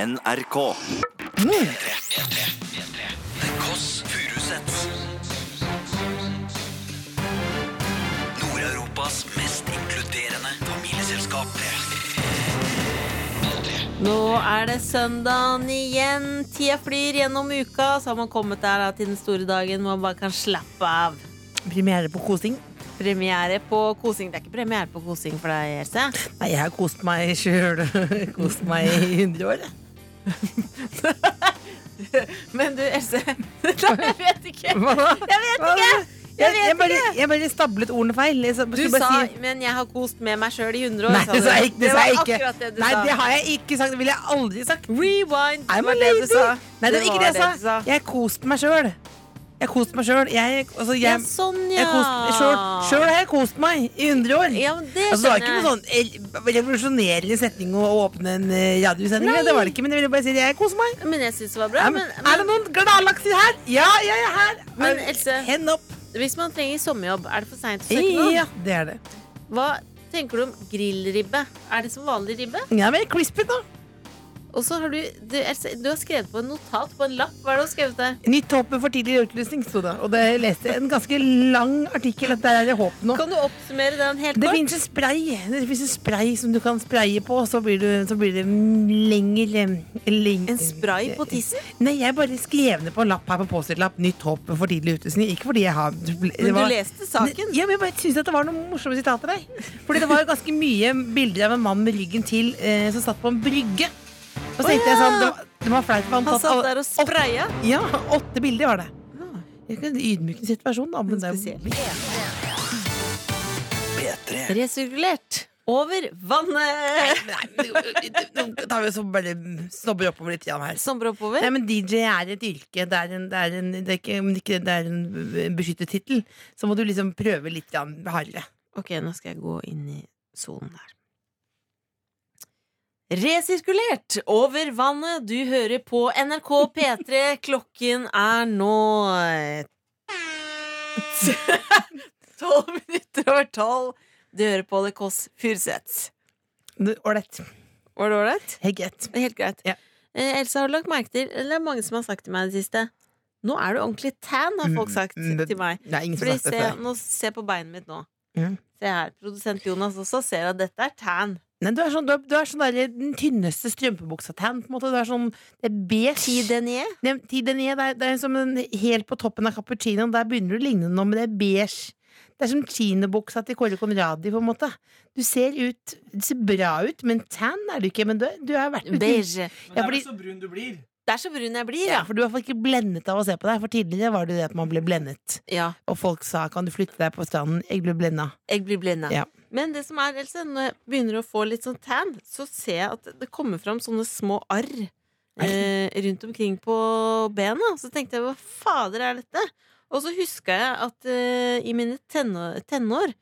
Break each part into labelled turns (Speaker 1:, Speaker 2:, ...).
Speaker 1: NRK.
Speaker 2: Mm.
Speaker 1: The Kåss Furuseths. Nord-Europas mest inkluderende familieselskap.
Speaker 2: Nå er det søndagen igjen. Tida flyr gjennom uka, så har man kommet der da, til den store dagen man bare kan slappe av.
Speaker 3: Premiere på kosing.
Speaker 2: Premiere på kosing. Det er ikke premiere på kosing for deg, Else.
Speaker 3: Nei, jeg har kost meg sjøl. Kost meg i 100 år. jeg.
Speaker 2: Men du, Else Nei, jeg vet ikke.
Speaker 3: Hva da?
Speaker 2: Jeg vet ikke! Jeg
Speaker 3: Jeg, jeg,
Speaker 2: vet
Speaker 3: bare,
Speaker 2: ikke!
Speaker 3: jeg bare stablet ordene feil. Jeg, sa-
Speaker 2: Du
Speaker 3: skulle
Speaker 2: sa
Speaker 3: bare si-
Speaker 2: 'men jeg har kost med meg sjøl i 100 år'.
Speaker 3: Nei, det sa jeg ikke. Det, sa jeg
Speaker 2: var
Speaker 3: ikke.
Speaker 2: akkurat det du
Speaker 3: Nei,
Speaker 2: sa.
Speaker 3: det har jeg ikke sagt. Det ville jeg aldri sagt.
Speaker 2: Rewind. Det
Speaker 3: I'm a
Speaker 2: var det du
Speaker 3: lady.
Speaker 2: sa.
Speaker 3: Nei, det var ikke det jeg
Speaker 2: du
Speaker 3: sa. Jeg koste meg sjøl. Jeg koste meg sjøl. Jeg, altså,
Speaker 2: Ja,
Speaker 3: jeg,
Speaker 2: sånn, ja.
Speaker 3: jeg koste, selv, selv har jeg kost meg i 100 år.
Speaker 2: Ja, men det
Speaker 3: Altså, det var ikke
Speaker 2: skjønner
Speaker 3: noe sånn el- revolusjonerende setning å å åpne en eh, radiosending med. Det var det ikke, men jeg ville bare si at jeg koser meg.
Speaker 2: jeg. Men jeg syns det var
Speaker 3: Ja,
Speaker 2: bra.
Speaker 3: sånn- men,
Speaker 2: Men,
Speaker 3: er det
Speaker 2: men
Speaker 3: noen gladlakser her? Ja, jeg er her.
Speaker 2: Men,
Speaker 3: Er-
Speaker 2: Else-
Speaker 3: Hen opp.
Speaker 2: hvis man trenger sommerjobb, er det for seint å søke nå?
Speaker 3: Ja, det er det.
Speaker 2: Hva tenker du om grillribbe? Er det som vanlig ribbe?
Speaker 3: Jeg er veldig crispy nå.
Speaker 2: Og så har du du, Else, du har skrevet på en notat på en lapp. Hva er det du har skrevet der?
Speaker 3: Nytt håp med for tidlig utlysning, sto det. Og det jeg leste en ganske lang artikkel at der er det håp nå.
Speaker 2: Kan du oppsummere den helt
Speaker 3: Det
Speaker 2: kort?
Speaker 3: finnes en spray Det finnes en spray som du kan spraye på, så blir, du, så blir det lenger eh, leng-
Speaker 2: En spray på tissen?
Speaker 3: Nei, jeg bare skrev ned på en lapp her på Post-It-lapp. Nytt håp med for tidlig utlysning. Ikke fordi jeg har det
Speaker 2: Men
Speaker 3: var-
Speaker 2: du leste saken?
Speaker 3: Ja, men jeg bare synes at det var noen morsomme sitater der. Fordi det var jo ganske mye bilder av en mann med ryggen til eh, som satt på en brygge. Og så
Speaker 2: Å,
Speaker 3: tenkte jeg
Speaker 2: ja.
Speaker 3: sånn Det var, det var flaut. for
Speaker 2: Han
Speaker 3: tatt
Speaker 2: satt
Speaker 3: alle-
Speaker 2: der og
Speaker 3: åtte-
Speaker 2: spraya.
Speaker 3: Ja, åtte bilder var det. Jeg kan Ydmykende situasjon, da. Men det er
Speaker 2: Spesielt.
Speaker 3: jo
Speaker 1: P3.
Speaker 2: Resirkulert. Over vannet!
Speaker 3: Nå tar vi så bare snobber oppover litt igjen her.
Speaker 2: Sommer oppover.
Speaker 3: Nei, men DJ er et yrke. Det er en, det er en, det er ikke, om det ikke det er en beskyttet tittel. Så må du liksom prøve litt grann hardere.
Speaker 2: Ok, nå skal jeg gå inn i sonen her. Resirkulert over vannet, du hører på NRK P3. Klokken er nå Tolv minutter over tolv. Du hører på The Kåss Furuseths.
Speaker 3: Ålreit.
Speaker 2: Var det ålreit?
Speaker 3: Helt greit.
Speaker 2: Helt greit.
Speaker 3: Ja.
Speaker 2: Eh, Elsa, har du lagt merke til Eller det er mange som har sagt til meg i det siste Nå er du ordentlig tan, har folk sagt
Speaker 3: Mm, det-
Speaker 2: til meg.
Speaker 3: Det er ingen som
Speaker 2: Fordi
Speaker 3: har sagt
Speaker 2: se,
Speaker 3: det før.
Speaker 2: nå, se på beinet mitt nå.
Speaker 3: Mhm.
Speaker 2: Se her. Produsent Jonas også ser at dette er tan.
Speaker 3: Nei, du er sånn, du er, du er sånn der, den tynneste strømpebuksa-tan. på en måte. Du er sånn, det er beige.
Speaker 2: Tidenier.
Speaker 3: Det, ti denier, E, det, er, det er som en, helt på toppen av cappuccinoen. Der begynner du å ligne noe, men det er beige. Det er som kinobuksa til Kåre Conradi, på en måte. Du ser ut Du ser bra ut, men tan er du ikke. Men du, du har vært
Speaker 2: Beige.
Speaker 4: Men det
Speaker 3: Ja,
Speaker 4: er
Speaker 3: fordi-
Speaker 4: vel så brun du blir.
Speaker 2: Det er så brun jeg blir, ja.
Speaker 3: Ja, for du er i hvert fall ikke blendet av å se på deg, for tidligere var det jo det at man ble blendet.
Speaker 2: ja.
Speaker 3: Og folk sa 'kan du flytte deg på stranden', jeg ble blenda.
Speaker 2: Jeg blir blinda.
Speaker 3: Ja.
Speaker 2: Men det som er, Else, når jeg begynner å få litt sånn tan, så ser jeg at det kommer fram sånne små arr eh, rundt omkring på bena. Så tenkte jeg hva fader er dette? Og så huska jeg at eh, i mine tenår, tenår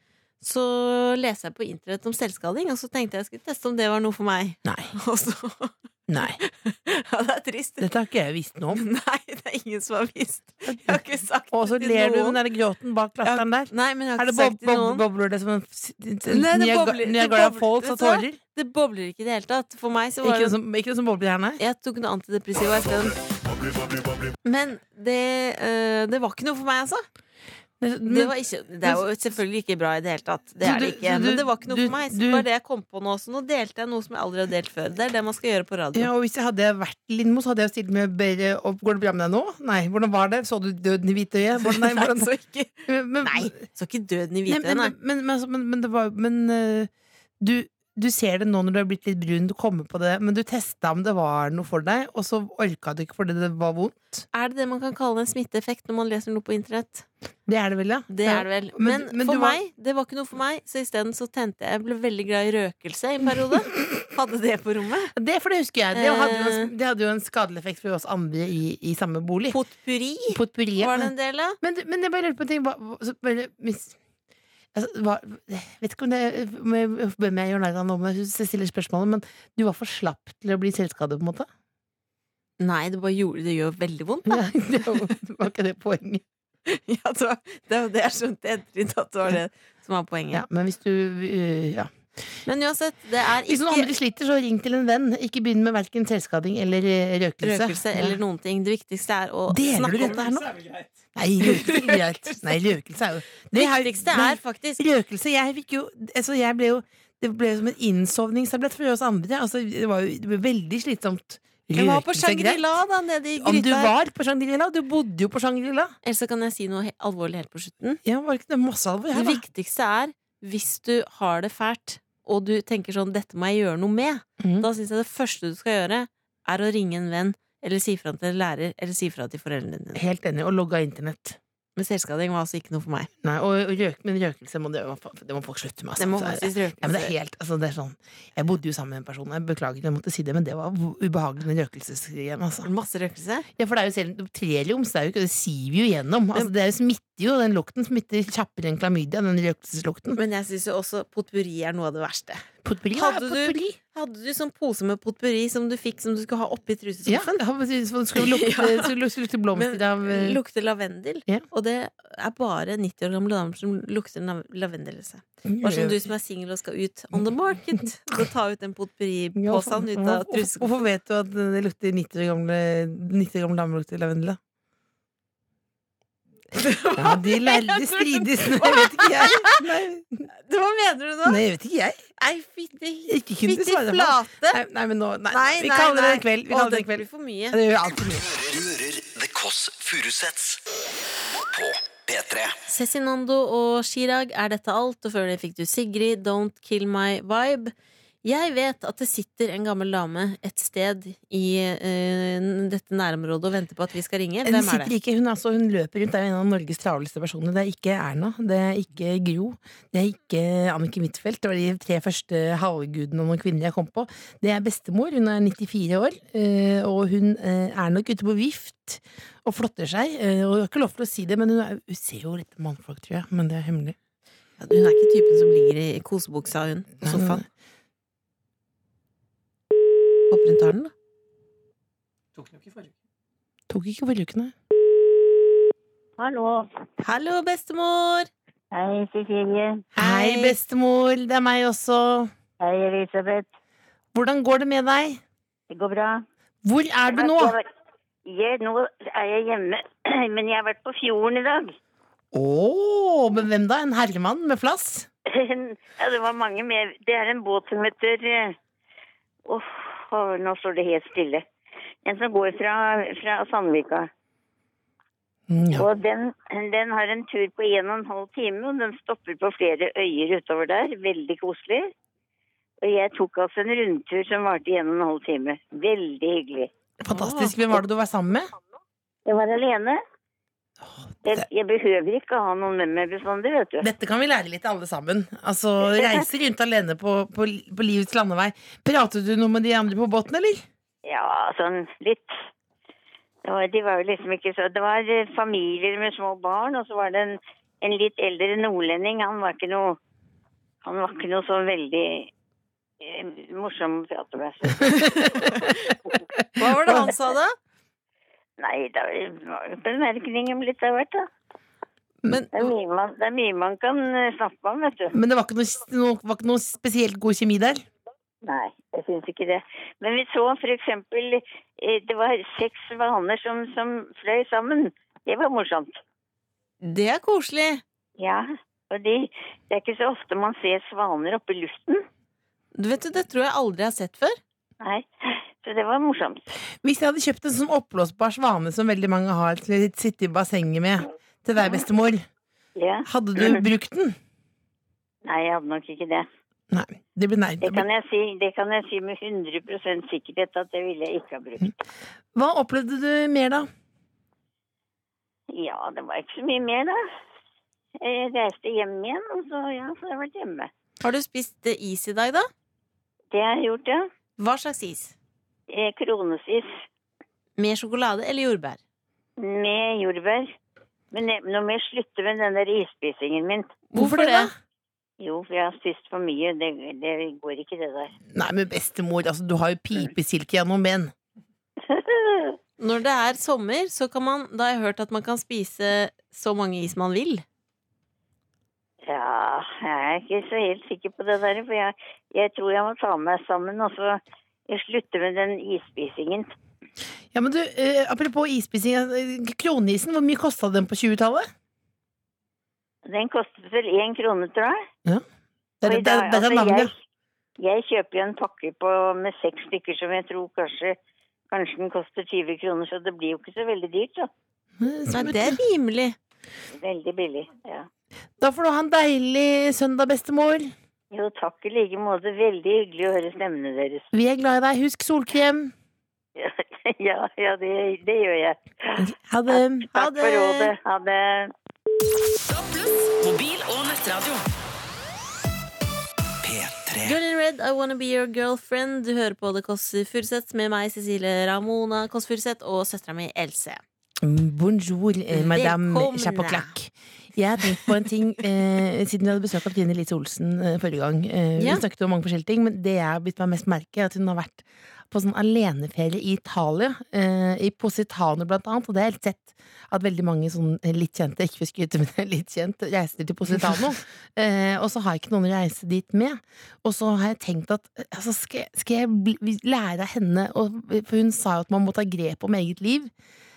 Speaker 2: så leste jeg på internett om selvskading, og så tenkte jeg jeg skulle teste om det var noe for meg.
Speaker 3: Nei.
Speaker 2: Og så
Speaker 3: Nei.
Speaker 2: Ja, det er trist.
Speaker 3: Dette har ikke jeg visst noe om.
Speaker 2: Nei, det er ingen som har visst. Jeg har ikke sagt
Speaker 3: Og så
Speaker 2: det til
Speaker 3: ler du
Speaker 2: noen.
Speaker 3: den der gråten bak latteren der.
Speaker 2: Nei, men jeg har
Speaker 3: Er det bob
Speaker 2: ikke sagt det til
Speaker 3: bob
Speaker 2: noen.
Speaker 3: bobler det som en
Speaker 2: Nei, det
Speaker 3: Når
Speaker 2: bobler-
Speaker 3: jeg- når
Speaker 2: det
Speaker 3: jeg går av
Speaker 2: bobler-
Speaker 3: folds av
Speaker 2: vet du hva?
Speaker 3: tårer?
Speaker 2: Det bobler ikke i det hele tatt. For meg så var
Speaker 3: Ikke noe
Speaker 2: det
Speaker 3: som, ikke noe som bobler her, nei?
Speaker 2: Jeg tok noe antidepressiva isteden. Men det, eh, det var ikke noe for meg, altså. Det, var ikke, det er jo selvfølgelig ikke bra i det hele tatt. Det
Speaker 3: Så
Speaker 2: er det
Speaker 3: du-
Speaker 2: ikke.
Speaker 3: så du-
Speaker 2: Men det var ikke noe
Speaker 3: du-
Speaker 2: for meg. Så
Speaker 3: du-
Speaker 2: det var det jeg kom på nå. Så nå delte jeg noe som jeg aldri har delt før. Det er det man skal gjøre på radio.
Speaker 3: Ja, og hvis jeg hadde vært Lindmo, så hadde jeg stilt med bedre opp. Går det bra med deg nå? Nei. Hvordan var det? Så du døden i hvite øye? Hvordan, nei, hvordan,
Speaker 2: så ikke,
Speaker 3: men,
Speaker 2: nei, så ikke døden i
Speaker 3: Nei,
Speaker 2: hvite, nei.
Speaker 3: men, men, men, altså, men, men det var Men øh, du, du ser det nå når du har blitt litt brun, du kommer på det, men du testa om det var noe for deg, og så orka du ikke fordi det var vondt.
Speaker 2: Er det det man kan kalle en smitteeffekt når man leser noe på internett?
Speaker 3: Det er det vel, ja?
Speaker 2: Det er det vel. Men,
Speaker 3: Men- men
Speaker 2: for
Speaker 3: du var-
Speaker 2: meg, det var ikke noe for meg, så isteden så tente jeg Jeg ble veldig glad i røkelse i en periode. Hadde det på rommet.
Speaker 3: Det, for det husker jeg. Det hadde, jo
Speaker 2: Eh.
Speaker 3: en, det hadde jo en skadelig effekt for oss andre i, i samme bolig.
Speaker 2: Potpurri
Speaker 3: Potpourri,
Speaker 2: var det
Speaker 3: ja.
Speaker 2: en del av.
Speaker 3: Men, men jeg bare lurer på en ting. Hva, hva, så bare, mis, altså, hva, jeg vet ikke om det om jeg, hvem jeg gjør narr av nå, men jeg stiller spørsmålet, men du var for slapp til å bli selvskadet, på en måte?
Speaker 2: Nei, det bare gjorde Det gjør veldig vondt, da.
Speaker 3: Ja, det var, det var ikke det poenget.
Speaker 2: Ja, det var det, var det jeg skjønte etter i dag, at det var det som var poenget.
Speaker 3: Ja, men hvis du øh, ja.
Speaker 2: Men uansett, det er
Speaker 3: Hvis noen
Speaker 2: ikke
Speaker 3: andre sliter, så ring til en venn. Ikke begynn med verken selvskading eller eh, røkelse.
Speaker 2: røkelse eller noen ting. Det viktigste er å
Speaker 3: Deler du
Speaker 2: snakke om
Speaker 3: dette
Speaker 2: det.
Speaker 3: her nå? Nei, røkelse er greit. Nei, røkelse er jo
Speaker 2: Det
Speaker 3: er jo-
Speaker 2: viktigste
Speaker 3: Nei,
Speaker 2: er faktisk
Speaker 3: Røkelse Jeg fikk jo Altså, jeg ble jo Det ble jo som en innsovningstablett for oss andre. Altså, det var jo det ble veldig slitsomt.
Speaker 2: Jeg var på
Speaker 3: Røkelse er greit.
Speaker 2: Shangri-La, da, nede i
Speaker 3: Om du
Speaker 2: gryta. her.
Speaker 3: var på Shangri-La? Du bodde jo på Shangri-La.
Speaker 2: Eller så kan jeg si noe he- alvorlig helt på slutten.
Speaker 3: Ja, var det ikke det masse alvor
Speaker 2: Det
Speaker 3: her, da?
Speaker 2: viktigste er, hvis du har det fælt, og du tenker sånn 'dette må jeg gjøre noe med',
Speaker 3: Mhm.
Speaker 2: da syns jeg det første du skal gjøre, er å ringe en venn, eller si fra til en lærer, eller si fra til foreldrene dine.
Speaker 3: Helt enig. Og logga internett.
Speaker 2: Men selvskading var altså ikke noe for meg.
Speaker 3: Nei, og, og røk, men røkelse må, det, det må folk slutte med. altså.
Speaker 2: Det må
Speaker 3: Så er
Speaker 2: faktisk røkes.
Speaker 3: Ja, men det er helt, altså det er sånn Jeg bodde jo sammen med en person, jeg beklager at jeg måtte si det, men det var ubehagelig med røkelsesgreien, altså.
Speaker 2: Masse røkelse.
Speaker 3: Ja, for det er jo selv trelium, så det er jo ikke, det siver jo gjennom. Altså, det er jo smitter jo, den lukten smitter kjappere enn klamydia, den røkelseslukten.
Speaker 2: Men jeg syns jo også potpurri er noe av det verste.
Speaker 3: Potpurri, ja,
Speaker 2: Hadde du-
Speaker 3: potpurri.
Speaker 2: Hadde du sånn pose med potpurri som du fikk som du skulle ha oppi
Speaker 3: Ja,
Speaker 2: truseskuffen?
Speaker 3: ja, men så- så skulle lukte,
Speaker 2: Ja.
Speaker 3: skulle lukte- skulle lukte blomster av eh,
Speaker 2: Lukter lavendel.
Speaker 3: Ja.
Speaker 2: Og det er bare 90 år gamle damer som lukter nav- lavendel. i seg.
Speaker 3: Mm,
Speaker 2: Bare som du som er singel og skal ut on the market. Så ta ut den
Speaker 3: Ja,
Speaker 2: potpurri-posen ut av
Speaker 3: hvorfor-
Speaker 2: truseskuffen.
Speaker 3: Hvorfor vet du at det lukter 90 år gamle, 90 år gamle damer lukter lavendel, da? Ja, de lærde strides, nå vet ikke jeg. Nei.
Speaker 2: Hva mener du nå?
Speaker 3: Nei, jeg vet ikke jeg.
Speaker 2: Nei, fytti
Speaker 3: Ikke kunne
Speaker 2: fytti
Speaker 3: svare på.
Speaker 2: flate!
Speaker 3: Nei, nei men nå Nei,
Speaker 2: Nei,
Speaker 3: vi
Speaker 2: nei,
Speaker 3: kaller det
Speaker 2: nei.
Speaker 3: en kveld. Vi
Speaker 2: Å,
Speaker 3: kaller det
Speaker 2: det
Speaker 3: en kveld.
Speaker 2: blir for mye.
Speaker 3: Ja, det gjør alt for mye.
Speaker 1: Du hører The Kåss Furuseths på P3.
Speaker 2: Cezinando og Chirag, er dette alt? Og før det fikk du Sigrid, Don't Kill My Vibe. Jeg vet at det sitter en gammel dame et sted i eh, dette nærområdet og venter på at vi skal ringe.
Speaker 3: Hun
Speaker 2: Hvem er
Speaker 3: sitter
Speaker 2: det?
Speaker 3: ikke, hun, er altså, hun løper rundt, det er jo en av Norges travleste personer. Det er ikke Erna, det er ikke Gro, det er ikke Anniken Huitfeldt. Det var de tre første halvgudene og noen kvinner jeg kom på. Det er bestemor, hun er 94 år, eh, og hun eh, er nok ute på vift og flotter seg. eh, Og hun har ikke lov til å si det, men hun, er, hun ser jo litt mannfolk, tror jeg. Men det er hemmelig.
Speaker 2: Ja, Hun er ikke typen som ligger i kosebuksa, hun. På
Speaker 3: Nei, nei,
Speaker 2: sofaen. Håper hun tar den, da.
Speaker 3: Tok ikke forrige uke, nei.
Speaker 4: Hallo.
Speaker 2: Hallo, bestemor!
Speaker 4: Hei, Cecilie.
Speaker 3: Hei, bestemor. Det er meg også.
Speaker 4: Hei, Elisabeth.
Speaker 3: Hvordan går det med deg?
Speaker 4: Det går bra.
Speaker 3: Hvor er du nå?
Speaker 4: Jeg har vært- Jeg, nå er jeg hjemme, men jeg har vært på fjorden i dag.
Speaker 3: Å, men hvem da? En herremann med flass?
Speaker 4: Ja, det var mange med. Det er en båt som heter eh, Uff, å, nå står det helt stille. En som går fra, fra Sandvika.
Speaker 3: Mm, Ja.
Speaker 4: Og den, den har en tur på en og en halv time, og den stopper på flere øyer utover der. Veldig koselig. Og jeg tok altså en rundtur som varte i en og en halv time. Veldig hyggelig.
Speaker 3: Fantastisk. Hvem var det du var sammen med?
Speaker 4: Jeg var alene. Jeg,
Speaker 3: Det-
Speaker 4: jeg behøver ikke ha noen med meg bestandig, vet du.
Speaker 3: Dette kan vi lære litt alle sammen. Altså, Reise rundt alene på, på, på livets landevei. Pratet du noe med de andre på båten, eller?
Speaker 4: Ja, sånn litt. Det var, de var jo liksom ikke så Det var eh, familier med små barn, og så var det en, en litt eldre nordlending. Han var ikke noe Han var ikke noe så veldig eh, morsom å prate med.
Speaker 2: Hva var det han sa, da?
Speaker 4: Nei, det var jo bemerkninger om litt av hvert, da.
Speaker 3: Men,
Speaker 4: Det er mye man, det er mye man kan eh, snakke om, vet du.
Speaker 3: men det var ikke, noe, noe, var ikke noe spesielt god kjemi der?
Speaker 4: Nei, jeg syns ikke det. Men vi så for eksempel eh, Det var seks vaner som, som fløy sammen. Det var morsomt.
Speaker 2: Det er koselig.
Speaker 4: Ja, fordi det er ikke så ofte man ser svaner oppe i luften.
Speaker 2: Du vet du, Det tror jeg aldri jeg har sett før.
Speaker 4: Nei, så det var morsomt.
Speaker 3: Hvis jeg hadde kjøpt en sånn oppblåsbar svane som veldig mange har til å sitte i bassenget med til deg, bestemor,
Speaker 4: Ja.
Speaker 3: hadde du brukt den?
Speaker 4: Nei, jeg hadde nok ikke det.
Speaker 3: Nei. Det blir nei.
Speaker 4: Det kan jeg si, det kan jeg si med 100 sikkerhet at det ville jeg ikke ha brukt.
Speaker 3: Hva opplevde du mer, da?
Speaker 4: Ja, det var ikke så mye mer, da. Jeg reiste hjem igjen, og så ja, så har jeg vært hjemme.
Speaker 2: Har du spist eh, is i dag, da?
Speaker 4: Det har jeg gjort, ja.
Speaker 2: Hva slags is?
Speaker 4: Eh, Kronesis
Speaker 2: Med sjokolade eller jordbær?
Speaker 4: med jordbær. Men jeg- nå må jeg slutte med den der isspisingen min.
Speaker 3: Hvorfor det, da?
Speaker 4: Jo, for jeg har spist for mye. Det, det går ikke, det der.
Speaker 3: Nei, men bestemor, altså, du har jo pipesilke gjennom ben.
Speaker 2: Når det er sommer, så kan man Da har jeg hørt at man kan spise så mange is man vil.
Speaker 4: Ja, jeg er ikke så helt sikker på det der, for jeg, jeg tror jeg må ta meg sammen og så slutte med den isspisingen.
Speaker 3: Ja, men du, eh, Apropos isspising. eh, Kronisen, hvor mye kosta den på 20-tallet?
Speaker 4: Den kostet vel én krone, tror jeg.
Speaker 3: Det er
Speaker 4: Og i
Speaker 3: det, det,
Speaker 4: dag-
Speaker 3: det, er
Speaker 4: altså,
Speaker 3: navnet.
Speaker 4: Jeg, jeg kjøper jo en pakke på, med seks stykker som jeg tror kanskje Kanskje den koster 20 kroner, så det blir jo ikke så veldig dyrt. Da.
Speaker 3: Mm,
Speaker 2: Nei, det er rimelig.
Speaker 4: Veldig billig. ja.
Speaker 3: Da får du ha en deilig søndag, bestemor.
Speaker 4: Jo, takk i like måte. Veldig hyggelig å høre stemmene deres.
Speaker 3: Vi er glad i deg. Husk solkrem.
Speaker 4: Ja, ja det, det gjør jeg.
Speaker 3: Ha det.
Speaker 2: Ha
Speaker 4: Takk for rådet. Ha det.
Speaker 5: Mobil og nettradio.
Speaker 1: P3.
Speaker 2: Girl in Red, I Wanna Be Your Girlfriend. Du hører på The Kåss Furuseth med meg, Cecilie Ramona Kåss Furuseth, og søstera mi Else.
Speaker 3: Bonjour, eh, madame
Speaker 2: Velkomne.
Speaker 3: Chapoklak. Jeg har tenkt på en ting eh, siden vi hadde besøk av Trine Lise Olsen eh, forrige gang. Eh,
Speaker 2: Ja.
Speaker 3: Vi snakket om mange forskjellige ting, men det jeg har bitt meg mest merke, er at hun har vært på sånn aleneferie i Italia, eh, i Positano blant annet, og det har jeg helt sett at veldig mange sånn eh, litt kjente, ikke for å skryte, men litt kjent, reiser til Positano. eh, og så har jeg ikke noen å reise dit med. Og så har jeg tenkt at eh, altså, skal, jeg- skal jeg bli, lære av henne og, For hun sa jo at man må ta grep om eget liv.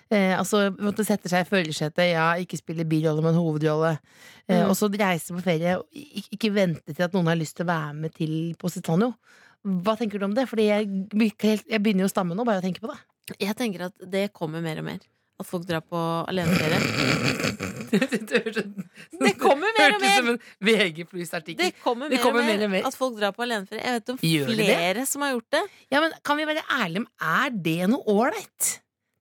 Speaker 3: Eh, altså måtte sette seg i følgesetet, ja, ikke spille birolle, men hovedrolle. Eh,
Speaker 2: Mm.
Speaker 3: Og så reise på ferie, og ik- ikke vente til at noen har lyst til å være med til Positano. Hva tenker du om det? Fordi jeg, blir ikke helt- jeg begynner jo å stamme nå, bare jeg tenker på det.
Speaker 2: Jeg tenker at det kommer mer og mer. At folk drar på aleneferie. Det kommer mer og mer!
Speaker 3: en VG Pluss-artikkel.
Speaker 2: Det kommer
Speaker 3: Det
Speaker 2: mer,
Speaker 3: kommer
Speaker 2: og mer,
Speaker 3: mer og mer.
Speaker 2: at folk drar på aleneferie. Jeg vet om
Speaker 3: Gjør de det?
Speaker 2: flere som har gjort det.
Speaker 3: Ja, men kan vi være ærlige om er det noe ålreit?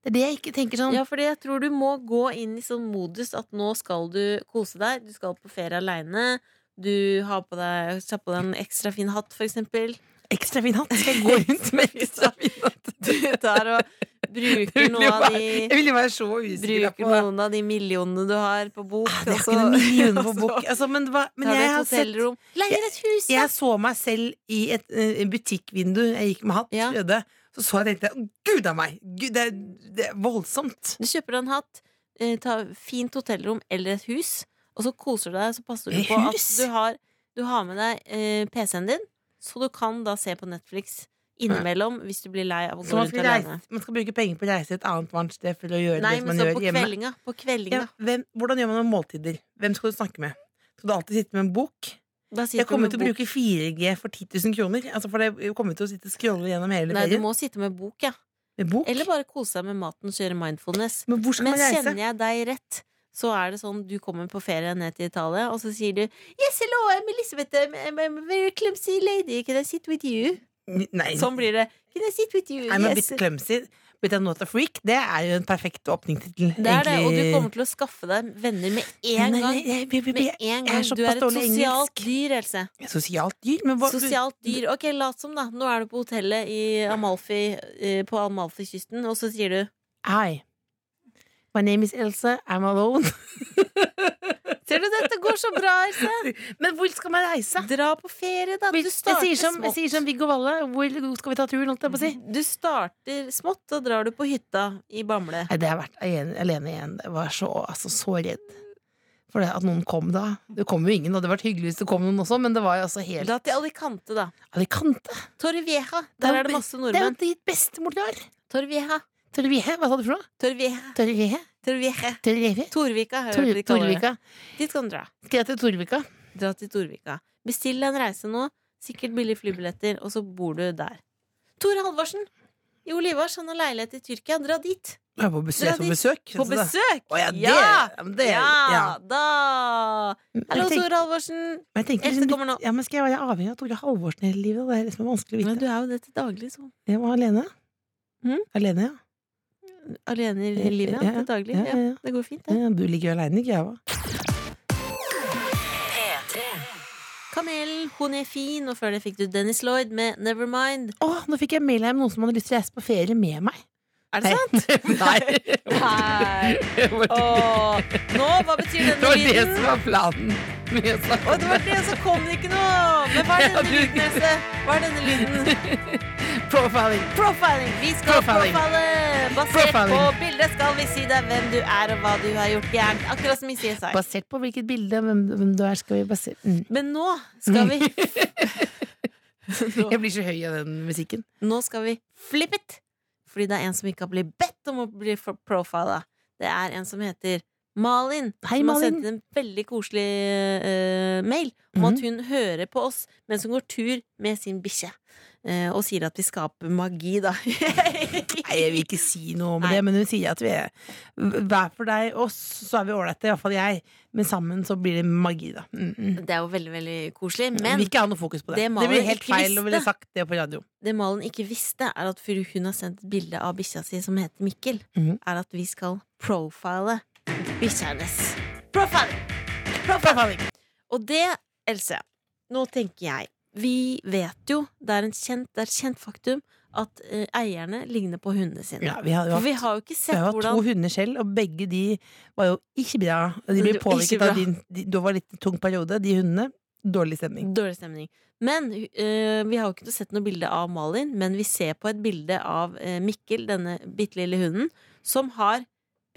Speaker 3: Det er det jeg ikke tenker sånn.
Speaker 2: Ja, fordi jeg tror du må gå inn i sånn modus at nå skal du kose deg. Du skal på ferie aleine. Du har på deg, tar på deg en ekstra fin hatt, for eksempel.
Speaker 3: Ekstra fin hatt! Skal jeg gå rundt med ekstra fin hatt?
Speaker 2: Du tar og bruker
Speaker 3: Jeg vil jo
Speaker 2: noen av
Speaker 3: være-
Speaker 2: de
Speaker 3: jeg vil jo være så usikker
Speaker 2: Bruker noen av de millionene du har på bok.
Speaker 3: Ah, Det er
Speaker 2: og
Speaker 3: ikke
Speaker 2: så-
Speaker 3: noen millioner på
Speaker 2: og så
Speaker 3: bok. Altså, men hva, men
Speaker 2: tar du
Speaker 3: jeg
Speaker 2: et
Speaker 3: har sett
Speaker 2: hotellrom. Leier et hus!
Speaker 3: Jeg så meg selv i et eh, butikkvindu. Jeg gikk med hatt,
Speaker 2: Ja.
Speaker 3: skjødde. Så så jeg tenkte jeg, gud a meg! Gud, det, er- det er voldsomt.
Speaker 2: Du kjøper deg en hatt, eh, tar fint hotellrom eller et hus, og så koser du deg. Så passer du
Speaker 3: Et
Speaker 2: på at
Speaker 3: hus?
Speaker 2: du har, du har med deg eh, PC-en din, så du kan da se på Netflix innimellom hvis du blir lei av å
Speaker 3: Så
Speaker 2: gå
Speaker 3: man
Speaker 2: rundt
Speaker 3: skal,
Speaker 2: alene.
Speaker 3: reise, man skal bruke penger på å reise et annet varmt sted for å gjøre
Speaker 2: Nei,
Speaker 3: det som
Speaker 2: men
Speaker 3: man
Speaker 2: så
Speaker 3: gjør
Speaker 2: på
Speaker 3: hjemme.
Speaker 2: kveldinga. På kveldinga.
Speaker 3: Ja, hvem, hvordan gjør man med måltider? Hvem skal du snakke med? Skal du alltid sitte med en bok?
Speaker 2: Da sitter
Speaker 3: Jeg
Speaker 2: du
Speaker 3: kommer
Speaker 2: med
Speaker 3: til å
Speaker 2: bok.
Speaker 3: bruke 4G for 10 000 kroner. Altså for det, jeg kommer til å sitte og scrolle gjennom hele
Speaker 2: Nei, du
Speaker 3: ferien
Speaker 2: må sitte med bok, ja.
Speaker 3: med bok.
Speaker 2: Eller bare kose deg med maten, kjøre mindfulness.
Speaker 3: Men hvor skal
Speaker 2: Men
Speaker 3: man reise?
Speaker 2: kjenner jeg deg rett, så er det sånn du kommer på ferie ned til Italia, og så sier du Yes, hello, I'm Elizabeth, I'm, I'm, I'm a very clumsy lady, can I sit with you?
Speaker 3: Nei,
Speaker 2: Sånn blir det. Can I sit with you?
Speaker 3: I'm a
Speaker 2: Yes.
Speaker 3: bit clumsy, but I'm not a freak. Det er jo en perfekt åpningstittel.
Speaker 2: Det er det, og du kommer til å skaffe deg venner med en
Speaker 3: Nei,
Speaker 2: gang.
Speaker 3: nei, jeg- jeg- jeg-
Speaker 2: Med
Speaker 3: jeg-
Speaker 2: en
Speaker 3: er
Speaker 2: gang. Du
Speaker 3: såpass
Speaker 2: er et
Speaker 3: dårlig i
Speaker 2: sosialt
Speaker 3: engelsk.
Speaker 2: dyr, Else.
Speaker 3: Sosialt dyr? Men hva,
Speaker 2: Sosialt dyr. Ok, lat som, da. Nå er du på hotellet i Amalfi, eh, på Amalfi-kysten, og så sier du
Speaker 3: Hi. My name is Else. I'm alone.
Speaker 2: Ser du, dette går så bra, Else!
Speaker 3: Men hvor skal man reise?
Speaker 2: Dra på ferie, da. Du
Speaker 3: Jeg sier
Speaker 2: starter
Speaker 3: som, jeg
Speaker 2: smått.
Speaker 3: sier som Viggo Valle. Hvor skal vi ta turen? Holdt jeg på å si.
Speaker 2: Du starter smått, da drar du på hytta i Bamble.
Speaker 3: Nei, det har vært alene, alene igjen. Jeg var så, altså, så redd for det at noen kom da. Det kom jo ingen, og det hadde vært hyggelig hvis det kom noen også, men det var jo altså helt
Speaker 2: Dra til Alicante, da.
Speaker 3: Alicante.
Speaker 2: Torrevieja. Der er det masse
Speaker 3: Det er jo
Speaker 2: nordmenn.
Speaker 3: ditt bestemor drar.
Speaker 2: Torrevieja.
Speaker 3: Torrevieja, hva sa du for noe?
Speaker 2: Torrevieja.
Speaker 3: Torrevieja?
Speaker 2: Torrevieja.
Speaker 3: Torrevieja?
Speaker 2: Torvika. har jeg hørt
Speaker 3: Tor-
Speaker 2: de kaller det.
Speaker 3: Torvika.
Speaker 2: Dit kan du dra.
Speaker 3: Skal jeg til Torvika?
Speaker 2: Dra til Torvika. Bestill deg en reise nå. Sikkert billige flybilletter, og så bor du der. Tore Halvorsen i Olivas, han har leilighet i Tyrkia. Dra dit!
Speaker 3: Jeg er på
Speaker 2: Dra
Speaker 3: besøk.
Speaker 2: dit.
Speaker 3: På besøk.
Speaker 2: På
Speaker 3: så da-
Speaker 2: besøk!
Speaker 3: Å, ja, det-
Speaker 2: ja!
Speaker 3: ja, men det-
Speaker 2: Ja,
Speaker 3: ja.
Speaker 2: da! Hallo,
Speaker 3: Jeg tenk-
Speaker 2: Tore Halvorsen.
Speaker 3: Men jeg tenker
Speaker 2: Else
Speaker 3: liksom,
Speaker 2: kommer nå.
Speaker 3: litt- ja, men skal jeg være avhengig av Tore Halvorsen hele livet? Det er liksom vanskelig å vite.
Speaker 2: Men du er jo det til daglig, så.
Speaker 3: Jeg var alene.
Speaker 2: Mhm.
Speaker 3: Alene, ja.
Speaker 2: Alene i livet, ja.
Speaker 3: Ja, ja.
Speaker 2: Til daglig.
Speaker 3: Ja, ja, ja.
Speaker 2: Ja, det går fint, det.
Speaker 3: ja. Du ligger jo aleine, ikke jeg, hva?
Speaker 2: Kamelen, hun er fin, og før det fikk du Dennis Lloyd med Nevermind.
Speaker 3: Å, nå fikk jeg mail her med noen som hadde lyst til å reise på ferie med meg.
Speaker 2: Er det sant?
Speaker 3: Nei.
Speaker 2: Nei.
Speaker 3: Det var
Speaker 2: Åh. Nå, hva betyr
Speaker 3: det
Speaker 2: denne
Speaker 3: var det
Speaker 2: lyden?
Speaker 3: som var planen. Men jeg sa-
Speaker 2: Og det var det, så kom det ikke noe! Men hva er
Speaker 3: Ja,
Speaker 2: denne
Speaker 3: du-
Speaker 2: lyden, Else? Hva er denne lyden?
Speaker 3: Profiling.
Speaker 2: Profiling! Vi skal
Speaker 3: Profiling.
Speaker 2: profile! Basert på
Speaker 3: Profiling.
Speaker 2: bildet skal vi si deg hvem du er og hva du har gjort gærent. Akkurat som i CSI.
Speaker 3: Basert på hvilket bilde hvem, hvem du er, skal vi basere mm.
Speaker 2: Men nå skal vi
Speaker 3: Jeg blir så høy av den musikken.
Speaker 2: Nå skal vi flippe it! Fordi det er en som ikke har blitt bedt om å bli for- profila. Det er en som heter Malin.
Speaker 3: Hei,
Speaker 2: som har
Speaker 3: Malin.
Speaker 2: sendt inn en veldig koselig eh, mail om
Speaker 3: Mhm.
Speaker 2: at hun hører på oss mens hun går tur med sin bikkje. eh, og sier at vi skaper magi, da.
Speaker 3: Nei, jeg vil ikke si noe om
Speaker 2: Nei.
Speaker 3: det, men hun sier at vi er hver for deg oss, så er vi ålreite, iallfall jeg. Men sammen så blir det magi, da. Mm, mm.
Speaker 2: det er jo veldig, veldig koselig.
Speaker 3: Men,
Speaker 2: Men
Speaker 3: vil ikke ha noe fokus på det.
Speaker 2: det
Speaker 3: Det,
Speaker 2: Malin
Speaker 3: blir helt
Speaker 2: ikke
Speaker 3: feil å ville
Speaker 2: visste-
Speaker 3: sagt det på radio.
Speaker 2: det Malen ikke visste, er at før hun har sendt et bilde av bikkja si, som heter Mikkel,
Speaker 3: Mhm.
Speaker 2: er at vi skal profile bikkja hennes. Profile!
Speaker 3: Profiling.
Speaker 2: Og det, Else, nå tenker jeg Vi vet jo, det er, en kjent, det er et kjent faktum at eh, eierne ligner på hundene sine.
Speaker 3: Ja, vi har jo
Speaker 2: For vi
Speaker 3: hatt,
Speaker 2: har jo ikke
Speaker 3: vi
Speaker 2: sett
Speaker 3: har hatt
Speaker 2: hvordan
Speaker 3: to hunder selv, og begge de var jo ikke bra. De
Speaker 2: Det
Speaker 3: ble
Speaker 2: var ikke
Speaker 3: påvirket av
Speaker 2: bra.
Speaker 3: din de, Det var litt tung periode, de hundene. Dårlig stemning.
Speaker 2: Dårlig stemning. Men eh, vi har jo ikke sett noe bilde av Malin, men vi ser på et bilde av eh, Mikkel, denne bitte lille hunden, som har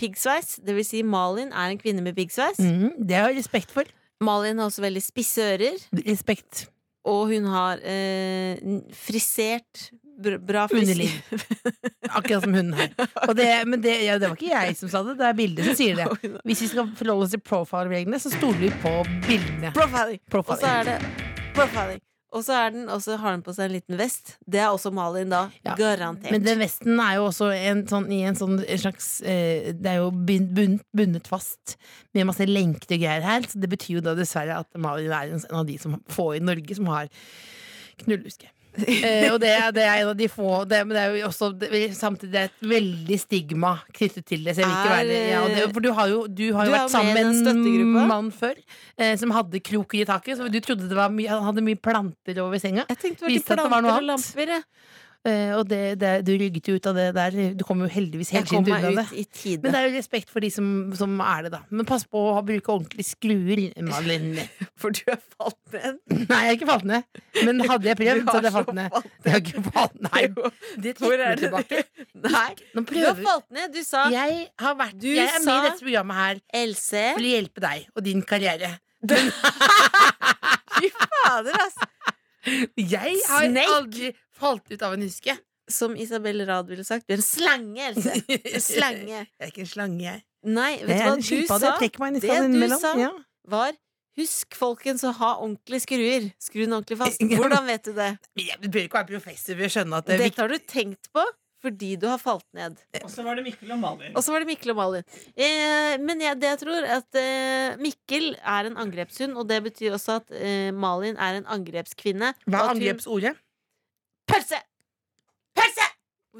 Speaker 2: piggsveis. Det vil si, Malin er en kvinne med piggsveis.
Speaker 3: Mm, det har jeg respekt for.
Speaker 2: Malin har også veldig spisse ører,
Speaker 3: Respekt.
Speaker 2: og hun har eh, n- frisert br- Bra
Speaker 3: Underliv.
Speaker 2: frisyr.
Speaker 3: Akkurat som hunden her. Og det, men det, ja, det var ikke jeg som sa det, det er bildet som sier det.
Speaker 2: Og hun har-
Speaker 3: Hvis vi skal forholde oss til profile-reglene, så stoler vi på bildene.
Speaker 2: Profiling! Og så
Speaker 3: Profiling.
Speaker 2: er det profiling. Og så er den, og så har den på seg en liten vest. Det er også Malin, da.
Speaker 3: Ja.
Speaker 2: Garantert.
Speaker 3: Men den vesten er jo også en sånn, i en sånn slags eh, Det er jo bun- bundet, bundet fast med masse lenker og greier her, så det betyr jo da dessverre at Malin er en av de som få i Norge som har knullehuske. eh, og det, er- det er en av de få det, Men det er jo også det, samtidig det er et veldig stigma knyttet til det. Så jeg vil ikke
Speaker 2: Er,
Speaker 3: være ja, og det, For du har jo, du har
Speaker 2: du
Speaker 3: jo
Speaker 2: er
Speaker 3: vært
Speaker 2: jo med i
Speaker 3: sammen
Speaker 2: den
Speaker 3: med en
Speaker 2: støttegruppa.
Speaker 3: mann før eh, som hadde kroker i taket. Så du trodde det var mye, han hadde mye planter over senga.
Speaker 2: jeg tenkte det
Speaker 3: Viste at det
Speaker 2: var til
Speaker 3: var noe
Speaker 2: planter og
Speaker 3: annet.
Speaker 2: lamper. jeg.
Speaker 3: Eh, og det, det, du rygget jo ut av det der. Du kom jo heldigvis
Speaker 2: Jeg
Speaker 3: helt
Speaker 2: kom
Speaker 3: sint
Speaker 2: meg
Speaker 3: unna
Speaker 2: ut
Speaker 3: det.
Speaker 2: i tide.
Speaker 3: Men det er jo respekt for de som, som er det, da. Men pass på å ha- bruke ordentlige skruer, Malin.
Speaker 2: for du har falt ned.
Speaker 3: Nei, jeg har ikke falt ned. Men hadde jeg prøvd, så hadde jeg falt ned. Jeg har ikke falt Nei, det
Speaker 2: Hvor
Speaker 3: trekker
Speaker 2: er
Speaker 3: meg
Speaker 2: det
Speaker 3: tilbake.
Speaker 2: Nei,
Speaker 3: Nå
Speaker 2: du har
Speaker 3: prøver
Speaker 2: falt ned. Du sa
Speaker 3: Jeg har vært
Speaker 2: Du
Speaker 3: Jeg er med
Speaker 2: sa-
Speaker 3: i dette programmet her
Speaker 2: Else.
Speaker 3: for å hjelpe deg og din karriere.
Speaker 2: Fy fader, altså.
Speaker 3: Jeg har
Speaker 2: Snake.
Speaker 3: aldri falt ut av en huske.
Speaker 2: Som Isabel Rad ville sagt, du er en slange, Else. En slange.
Speaker 3: Jeg er ikke en slange, jeg.
Speaker 2: Nei,
Speaker 3: Jeg er en
Speaker 2: vet du hva
Speaker 3: skilpadde.
Speaker 2: du
Speaker 3: Jeg
Speaker 2: sa?
Speaker 3: trekker meg
Speaker 2: Det
Speaker 3: nesten
Speaker 2: du
Speaker 3: innimellom.
Speaker 2: sa-
Speaker 3: Ja.
Speaker 2: Var Husk, folkens, å ha ordentlige skruer. Skru den ordentlig fast.
Speaker 3: Ja, men-
Speaker 2: Hvordan vet du det?
Speaker 3: Men Jeg bør ikke være professor for å skjønne at det er viktig.
Speaker 2: Dette har du tenkt på fordi du har falt ned.
Speaker 5: Og så var det Mikkel og Malin.
Speaker 2: Og så var det Mikkel og Malin. Eh, men jeg, det jeg tror, er at eh, Mikkel er en angrepshund, og det betyr også at eh, Malin er en angrepskvinne.
Speaker 3: Hva
Speaker 2: og
Speaker 3: er
Speaker 2: at hun-
Speaker 3: angrepsordet?
Speaker 2: Pølse! Pølse!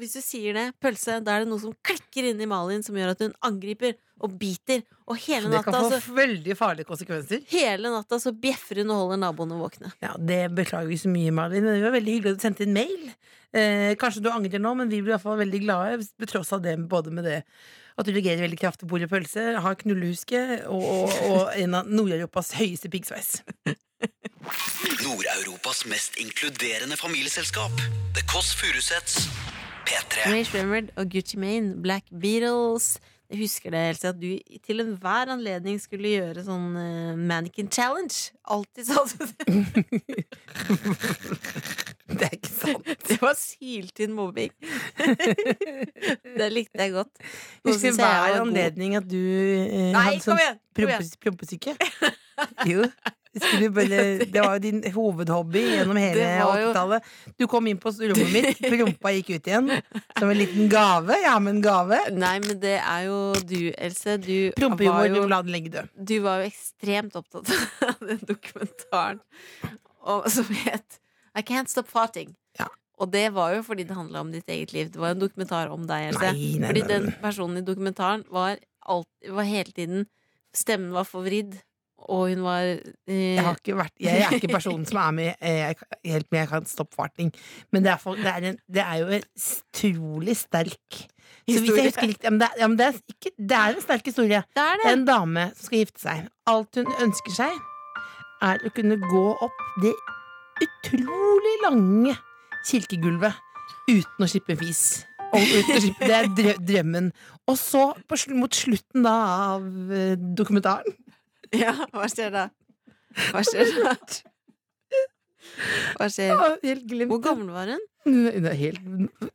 Speaker 2: Hvis du sier det, pølse, da er det noe som klikker inni Malin, som gjør at hun angriper og biter. Og hele
Speaker 3: Det
Speaker 2: natta,
Speaker 3: kan få
Speaker 2: så,
Speaker 3: veldig farlige konsekvenser.
Speaker 2: hele natta så bjeffer hun og holder naboene våkne.
Speaker 3: Ja, Det beklager vi så mye, Malin. Men det var veldig hyggelig at du sendte inn mail. Eh, kanskje du angrer nå, men vi blir i hvert fall veldig glade. På tross av det, både med det at du reagerer veldig kraftig på ordet pølse, har knullehuske og, og, og en av Nord-Europas høyeste piggsveis.
Speaker 1: Nord-Europas mest inkluderende familieselskap. The Kåss Furuseths. P3.
Speaker 2: Ray Shremmerd og Gucci Mane, Black Beatles. Jeg husker det, Else, at du til enhver anledning skulle gjøre sånn eh, mannequin challenge. Alltid sånn.
Speaker 3: Det er ikke sant.
Speaker 2: Det var syltynn mobbing. det likte jeg godt. Nå
Speaker 3: Husker
Speaker 2: synes jeg jeg
Speaker 3: hver
Speaker 2: var god.
Speaker 3: anledning at du eh,
Speaker 2: Nei,
Speaker 3: hadde
Speaker 2: kom
Speaker 3: sånn
Speaker 2: igjen! Kom igjen.
Speaker 3: prompes- prompesyke. Jo. Skulle bare, det var jo din hovedhobby gjennom hele
Speaker 2: Det var jo-
Speaker 3: 80-tallet. Du kom inn på rommet mitt, prompa gikk ut igjen. Som en liten gave. Jeg har med en gave.
Speaker 2: Nei, men det er jo du, Else. Du var
Speaker 3: Prompejord, du
Speaker 2: jo,
Speaker 3: må la den ligge død.
Speaker 2: du var jo ekstremt opptatt av den dokumentaren om, som het I Can't Stop Farting.
Speaker 3: Ja.
Speaker 2: Og det var jo fordi det handla om ditt eget liv. Det var jo en dokumentar om deg, Else.
Speaker 3: Nei, nei,
Speaker 2: Fordi
Speaker 3: nei,
Speaker 2: den
Speaker 3: nei.
Speaker 2: personen i dokumentaren var, alt, var hele tiden Stemmen var forvridd, og hun var eh,
Speaker 3: Jeg, har ikke vært, jeg er ikke personen som er med eh, jeg kan- helt med jeg kan stoppe farting. Men det er, for, det er, en, det er jo en utrolig sterk så hvis jeg
Speaker 2: Historie.
Speaker 3: husker likt, ja, men det, er, ja, men det, er ikke, det er en sterk historie.
Speaker 2: Det er
Speaker 3: Det
Speaker 2: det!
Speaker 3: er en dame som skal gifte seg. Alt hun ønsker seg, er å kunne gå opp det utrolig lange kirkegulvet uten å slippe en fis. Og ut og slippe. Det er drø drømmen. Og så, på, sl- mot slutten da av eh, dokumentaren
Speaker 2: Ja, hva skjer da? Hva skjer da? Hva skjer?
Speaker 3: Å, Helt glemt.
Speaker 2: Hvor gammel var hun?
Speaker 3: Nei, det er helt,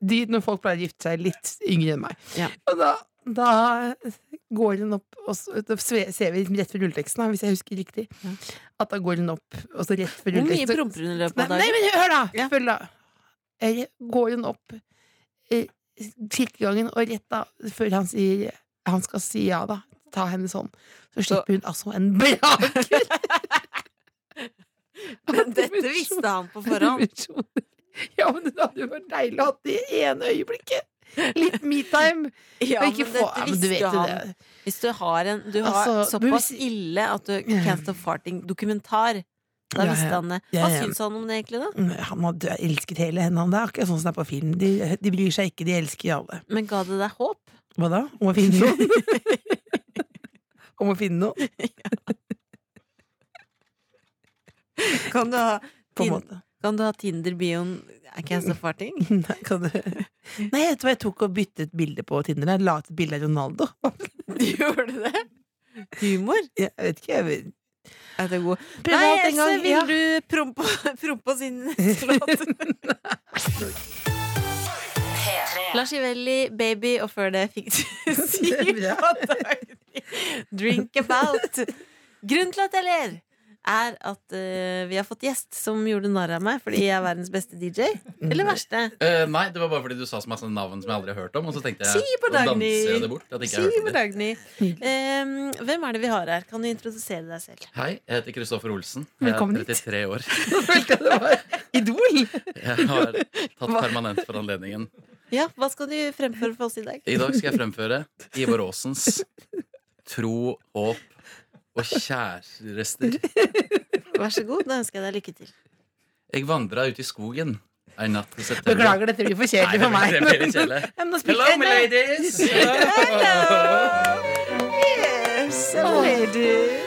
Speaker 3: de, når folk pleier å gifte seg litt yngre enn meg.
Speaker 2: Ja.
Speaker 3: Og da, da går hun opp, og så, da sve- ser vi liksom rett før rulleteksten, da, hvis jeg husker riktig. At da går hun opp, og så rett før
Speaker 2: Hvor mye
Speaker 3: rulleteksten
Speaker 2: promper hun i løpet
Speaker 3: Nei,
Speaker 2: av
Speaker 3: nei,
Speaker 2: dagen?
Speaker 3: men hør da!
Speaker 2: Ja.
Speaker 3: Følg da. Eh, Går hun opp eh, kirkegangen, og rett da, før han sier Han skal si ja, da, ta hennes hånd, så slipper hun altså en braker!
Speaker 2: Dette visste han på forhånd.
Speaker 3: dimensjoner. Ja, men det hadde jo vært deilig å ha det i ene øyeblikket. Litt metime.
Speaker 2: Ja,
Speaker 3: og
Speaker 2: men
Speaker 3: ikke få ja,
Speaker 2: dette
Speaker 3: men du
Speaker 2: visste
Speaker 3: vet
Speaker 2: jo
Speaker 3: jo
Speaker 2: han.
Speaker 3: det.
Speaker 2: Hvis du har en Du har
Speaker 3: Altså, men
Speaker 2: såpass
Speaker 3: hvis-
Speaker 2: ille at du Can't Stop Farting-dokumentar. Da
Speaker 3: Ja, ja.
Speaker 2: visste han det. Hva
Speaker 3: Ja, ja.
Speaker 2: syns han om det egentlig, da?
Speaker 3: Mm, Han hadde elsket hele henne. han. Det er akkurat sånn som det er på film. De, de bryr seg ikke, de elsker alle.
Speaker 2: Men ga det deg håp?
Speaker 3: Hva da? Om å finne noen? Om å finne noen,
Speaker 2: Kan du ha,
Speaker 3: på en
Speaker 2: Fin-
Speaker 3: måte.
Speaker 2: kan du ha Tinder-bioen I Can't Stop Farting?
Speaker 3: Nei, kan du Nei, vet du hva jeg tok og byttet bilde på Tinder? Jeg la ut et bilde av Ronaldo.
Speaker 2: Gjør du det? Humor?
Speaker 3: Jeg vet ikke, jeg vil
Speaker 2: Er det god?
Speaker 3: Privat
Speaker 2: Nei,
Speaker 3: en
Speaker 2: Else,
Speaker 3: gang,
Speaker 2: vil
Speaker 3: ja.
Speaker 2: du prompe prompe oss inn i neste låt? Lars Ivelli, 'Baby', og før det fikk du si Drink about. Grunnen til at jeg ler, er at eh, vi har fått gjest som gjorde narr av meg fordi jeg er verdens beste DJ. Eller verste.
Speaker 5: Eh, nei, det var bare fordi du sa så masse navn som jeg aldri har hørt om. Og så tenkte jeg
Speaker 2: Si på
Speaker 5: å danse
Speaker 2: Dagny.
Speaker 5: jeg det bort. At jeg ikke Mm. har hørt om
Speaker 2: Siv
Speaker 5: det.
Speaker 2: Dagny. Em, hvem er det vi har her? Kan du introdusere deg selv?
Speaker 5: Hei, jeg heter Kristoffer Olsen. Jeg er
Speaker 3: Velkommen hit.
Speaker 5: 33 år.
Speaker 3: Nå følte jeg det var Idol!
Speaker 5: Jeg har tatt permanent for anledningen.
Speaker 2: Ja, Hva skal du fremføre for oss i dag?
Speaker 5: I dag skal jeg fremføre Ivar Aasens Tro, håp og kjærester.
Speaker 2: Vær så god. Da ønsker jeg deg lykke til.
Speaker 5: Jeg vandra ut i skogen en natt i september.
Speaker 3: Beklager, dette blir for kjedelig for meg.
Speaker 5: Nei, det blir kjedelig.
Speaker 3: Ja, men nå spilte
Speaker 5: Hello,
Speaker 3: jeg-
Speaker 5: my ladies!